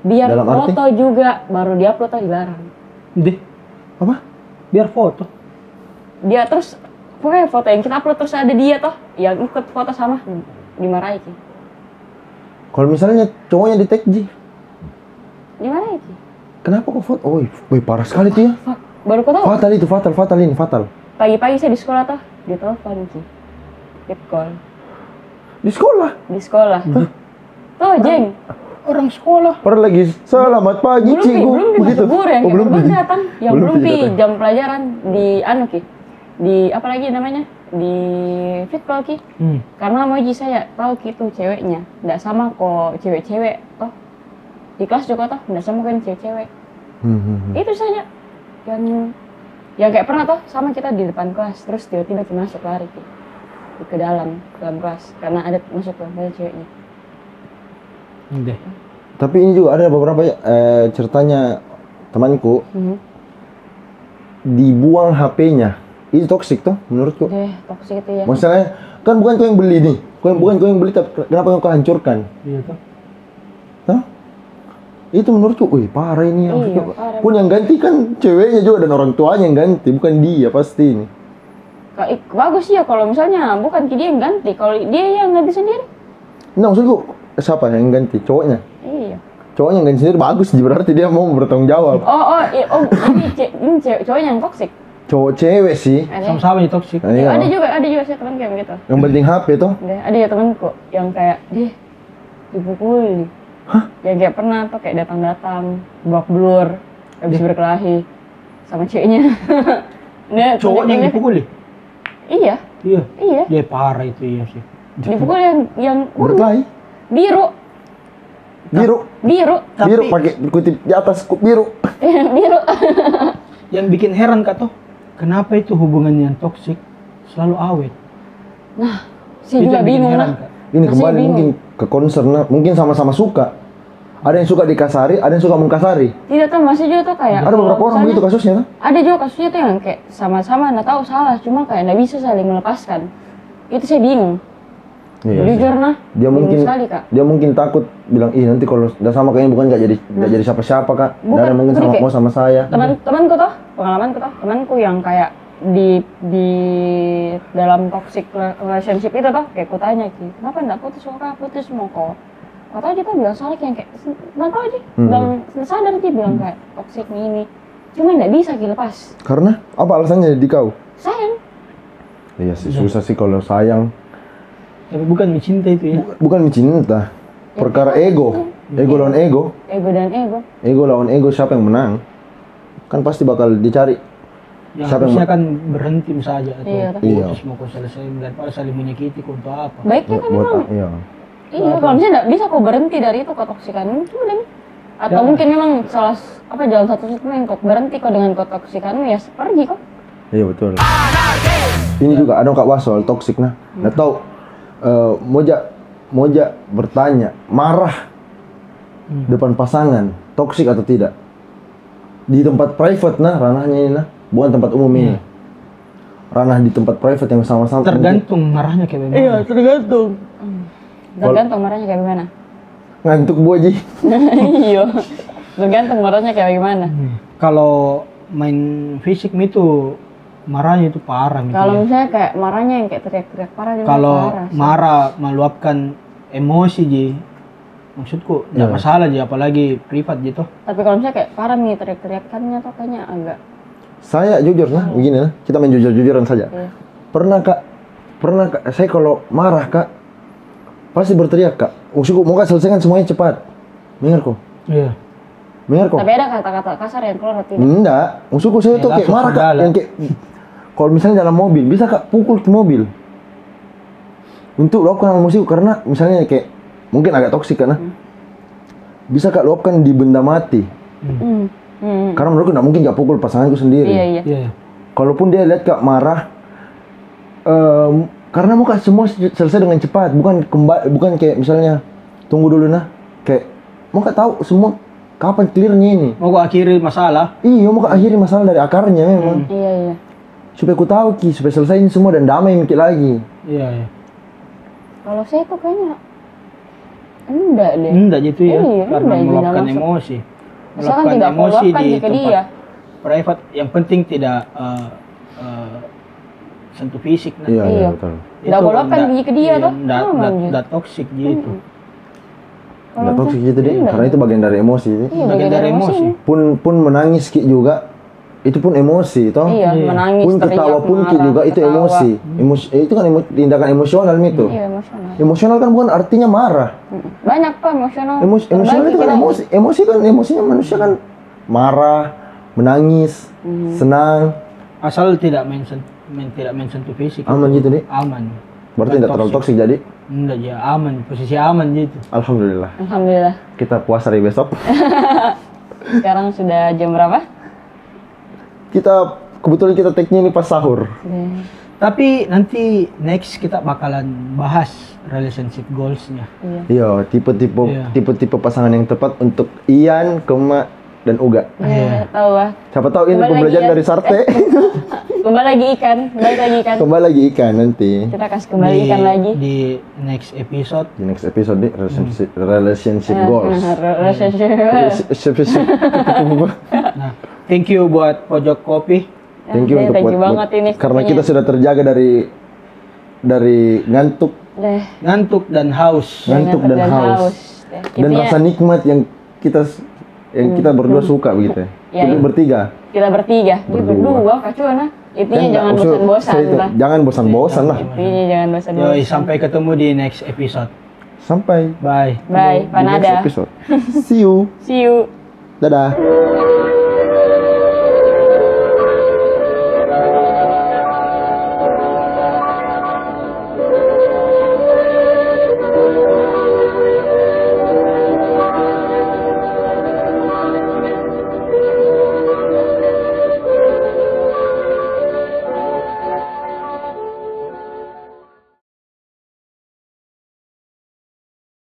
Biar
Dalam arti?
foto juga baru diupload tuh dilarang.
Deh.
Apa?
Biar foto.
Dia terus pokoknya foto yang kita upload terus ada dia toh yang ikut foto sama dimarahi Ki.
Kalau misalnya cowoknya di tag, Ji,
Dimarahi Ki.
kenapa kok foto? Oh, wih, parah sekali tuh ya.
Fuck. Baru kau tahu
Fatal itu, fatal, fatal ini, fatal.
pagi-pagi saya di sekolah tuh dia telepon sih Dia call
Di sekolah,
di sekolah tuh jeng
Orang sekolah.
pernah lagi selamat pagi
belum pi
cikgu,
belum di masuk guru ya, yang
Oh,
belum
belum
baru
Pi.
datang yang
Belum
belum,
Pi
pi
datang.
jam pelajaran di anu ki di apa lagi namanya di fit call ki
Hmm.
karena mau Ji, saya tahu ki tuh ceweknya nggak sama kok cewek-cewek toh di kelas juga toh nggak sama kan cewek-cewek
Hmm, hmm, hmm.
itu saja yang yang kayak pernah toh sama kita di depan kelas terus tiba-tiba kita masuk lari Ki. ke dalam ke dalam kelas karena ada masuk ke dalam ceweknya
Deh.
Tapi ini juga ada beberapa eh, ceritanya temanku
Mhm.
dibuang HP-nya. Itu toksik tuh menurutku.
deh toksik itu ya
Masalahnya kan bukan kau yang beli nih. Kau yang bukan kau yang beli tapi kenapa kau hancurkan?
Iya toh.
Hah? Itu menurutku, wih parah ini.
Iya,
Maksudnya,
parah.
Pun yang ganti kan ceweknya juga dan orang tuanya yang ganti, bukan dia pasti ini.
Ka- ik- bagus ya kalau misalnya bukan dia yang ganti kalau dia yang ganti sendiri
Nah maksudku siapa yang ganti? Cowoknya.
iya
Cowoknya yang ganti sendiri bagus, berarti dia mau bertanggung jawab.
oh oh i- oh ini, ce- ini cewek cowoknya yang toksik
Cowok cewek sih.
ada ya?
Sama-sama aja toksik.
Nah,
Eh,
iya.
ada juga ada juga sih teman kayak gitu. begitu
Yang penting HP tuh.
ada ada ya temanku yang kayak dia dipukul yang kayak pernah tuh kayak datang datang blok blur habis berkelahi sama ceweknya (laughs) Dia-
Cowoknya yang
dia-
dipukul ih.
iya
Iya.
iya
Dia parah itu iya sih.
dipukul yang yang ungu.
Berkelahi.
biru
Biru.
biru (laughs)
Tapi-
Biru pakai kutip di atas ku- biru. (laughs)
biru
Yang bikin heran kak toh, kenapa itu hubungan yang toksik selalu awet?
saya
Itu
juga
yang bikin
bingung
heran,
lah
Kak.
Ini
Masih
kembali
bingung.
mungkin ke concern nah, mungkin sama-sama suka. Ada yang suka dikasari, ada yang suka mengkasari.
tidak Iya, tuh masih juga tuh kayak
Ada
Nah, kalau
beberapa orang gitu kan?
misalnya-
begitu kasusnya. tuh.
ada juga kasusnya tuh yang kayak sama-sama nggak tahu salah cuma kayak nggak bisa saling melepaskan itu saya bingung jujur nah
Iya Dia
bingung
mungkin
sekali kak
dia mungkin takut bilang ih nanti kalau udah sama kayaknya bukan nggak jadi nggak jadi siapa-siapa kak.
Bukan,
Dan mungkin sama
bukan,
mau sama saya.
teman temanku tuh pengalamanku tuh temanku yang kayak di di dalam toxic relationship itu tuh kayak ku tanya ki kenapa nggak putus kok Kak? putus mau kok atau dia tuh bilang soalnya kayak kayak nggak tahu aja
Hmm.
bilang sadar dia bilang kayak toxic nih ini cuma nggak bisa ki lepas
Karena apa alasannya di kau?
sayang
Iya sih susah sih kalau sayang.
Tapi bukan mencinta itu ya.
Bukan
Ya,
mencinta. Perkara ego.
Iya.
Ego lawan ego.
ego dan ego
Ego lawan ego siapa yang menang? Kan pasti bakal dicari.
Yang
Siapa yang
harusnya kan berhenti saja atau
Iya, Kak.
Iya.
putus mau kau selesai daripada saling menyakiti kau untuk apa?
baiknya kan memang
Buat, iya.
Iya, kalau misalnya nggak bisa kok berhenti dari itu ketoksikan, cuma demi atau
Ya.
Jangan.
mungkin memang salah s- apa jalan satu satunya yang kok berhenti kok dengan ketoksikanmu ya pergi kok.
Iya betul. Ini juga ada kak was soal toksik nah. Nah tahu eh, moja moja bertanya marah depan pasangan toksik atau tidak di tempat private nah ranahnya ini nah bukan tempat umum ini ranah di tempat private yang sama-sama
Tergantung marahnya kayak gimana. Iya, tergantung.
Tergantung marahnya kayak gimana.
ngantuk gua ji
(laughs) Iya. Tergantung marahnya kayak gimana.
Hmm. Kalau main fisik mi itu marahnya itu parah gitu.
Kalau
Iya.
ya.
misalnya kayak marahnya yang kayak teriak-teriak parah dia
Kalau
parah. sih.
marah meluapkan emosi ji, maksudku nggak masalah ji apalagi privat gitu.
Tapi kalau misalnya kayak parah nih teriak-teriakannya tuh kayaknya agak
saya jujur nah begini nah kita main jujur-jujuran saja
Iya.
pernah kak pernah kak saya kalau marah kak pasti berteriak kak usiku mau kak selesaikan semuanya cepat dengar kok
Iya.
dengar kok
Tapi ada kata-kata kasar yang keluar hati.
Enggak, maksudku saya
Ya,
tuh kayak
langsung
marah kak,
sandal.
yang kayak kalau misalnya dalam mobil bisa kak pukul ke mobil untuk luapkan emosiku karena misalnya kayak mungkin agak toksik karena bisa kak luapkan di benda mati
Hmm. Hmm.
karena menurutku nggak mungkin kak pukul pasanganku sendiri.
Iya, iya.
Iya.
Kalaupun dia lihat kak marah, em, karena mau kak semua se- selesai dengan cepat, bukan kembali, bukan kayak misalnya tunggu dulu nah, kayak mau kak tahu semua kapan clearnya ini.
Mau gua akhiri masalah.
Iya, mau kak akhiri masalah dari akarnya memang.
Iya, iya.
supaya ku tahu ki supaya selesaiin semua dan damai mikir lagi
Iya. iya.
Kalau saya tuh kayaknya enggak deh.
Hmm.
Enggak gitu ya,
Iya,
karena
enggak, Ji,
meluapkan
langsung.
emosi.
Misalkan tidak kau luapkan jika dia. Iya,
private. Yang penting tidak eh, eh, sentuh fisik. Nah.
iya, Iya.
betul
Nggak
Itu
boleh kan
nggak-
di ke dia,
iya,
toh.
nggak-
Aman, Hmm.
nggak-
Ji.
nggak toksik gitu.
Kalau
nggak toksik
misalnya-
gitu deh
Iya.
karena itu bagian dari emosi
Iya,
Bagian dari emosi.
pun pun menangis ki juga itu pun emosi toh
Iya,
Iya.
menangis,
Oh, pun ketawa
teriak,
pun ki
marah,
juga itu
ketawa.
emosi emosi eh, itu kan emo- tindakan emosional itu
Iya, emosional. Hmm.
emosional kan bukan artinya marah
Banyak kok emosional.
emosi emosional
Terbagi
itu kan
kita.
emosi emosi kan emosinya manusia kan marah menangis
Hmm.
senang
Asal tidak main, sen- main tidak main sentuh fisik.
aman gitu deh
Aman.
berarti tidak terlalu toksik jadi
Enggak ya, aman. Posisi aman gitu.
alhamdulillah
Alhamdulillah.
kita puasa dari besok
Sekarang sudah jam berapa?
kita kebetulan kita take-nya ini pas sahur
Sudah.
Tapi nanti next kita bakalan bahas relationship goals-nya.
Iya.
Iya, tipe-tipe
Iya.
tipe-tipe pasangan yang tepat untuk Ian, Kema, dan Uga.
Iya, tahu ah.
Siapa tahu ini
Kembali lagi
pembelajaran
ya.
dari Sarte.
Kembali lagi ikan, kembali lagi ikan.
(laughs) Kembali lagi ikan nanti.
Kita kasih kembali
di,
ikan lagi.
di next episode
Di next episode di relationship, relationship
Nah,
goals.
nah, re- relationship.
Relationship-
(laughs)
nah thank you buat pojok kopi
Thank you
Thank
untuk
you
buat-
banget
buat-
ini
karena
sepertinya.
kita sudah terjaga dari dari ngantuk
Deh,
ngantuk dan haus
ngantuk dan
jangan
haus
Iya, haus. Gitu ya. Deh,
dan
intinya
rasa nikmat yang kita yang kita berdua suka begitu
Ya,
ya. Kita
Hmm. iya.
bertiga.
kita bertiga, dia
Berdua.
berdua kacuan ah.
Ya,
Intinya
enggak,
jangan
maksud
bosan-bosan
saya itu,
lah.
Jangan bosan-bosan lah.
Intinya jangan bosan-bosan.
Yoi, sampai ketemu di next episode
Sampai
bye
Bye,
di next
panada. (laughs)
episode. See you.
See you.
Dadah.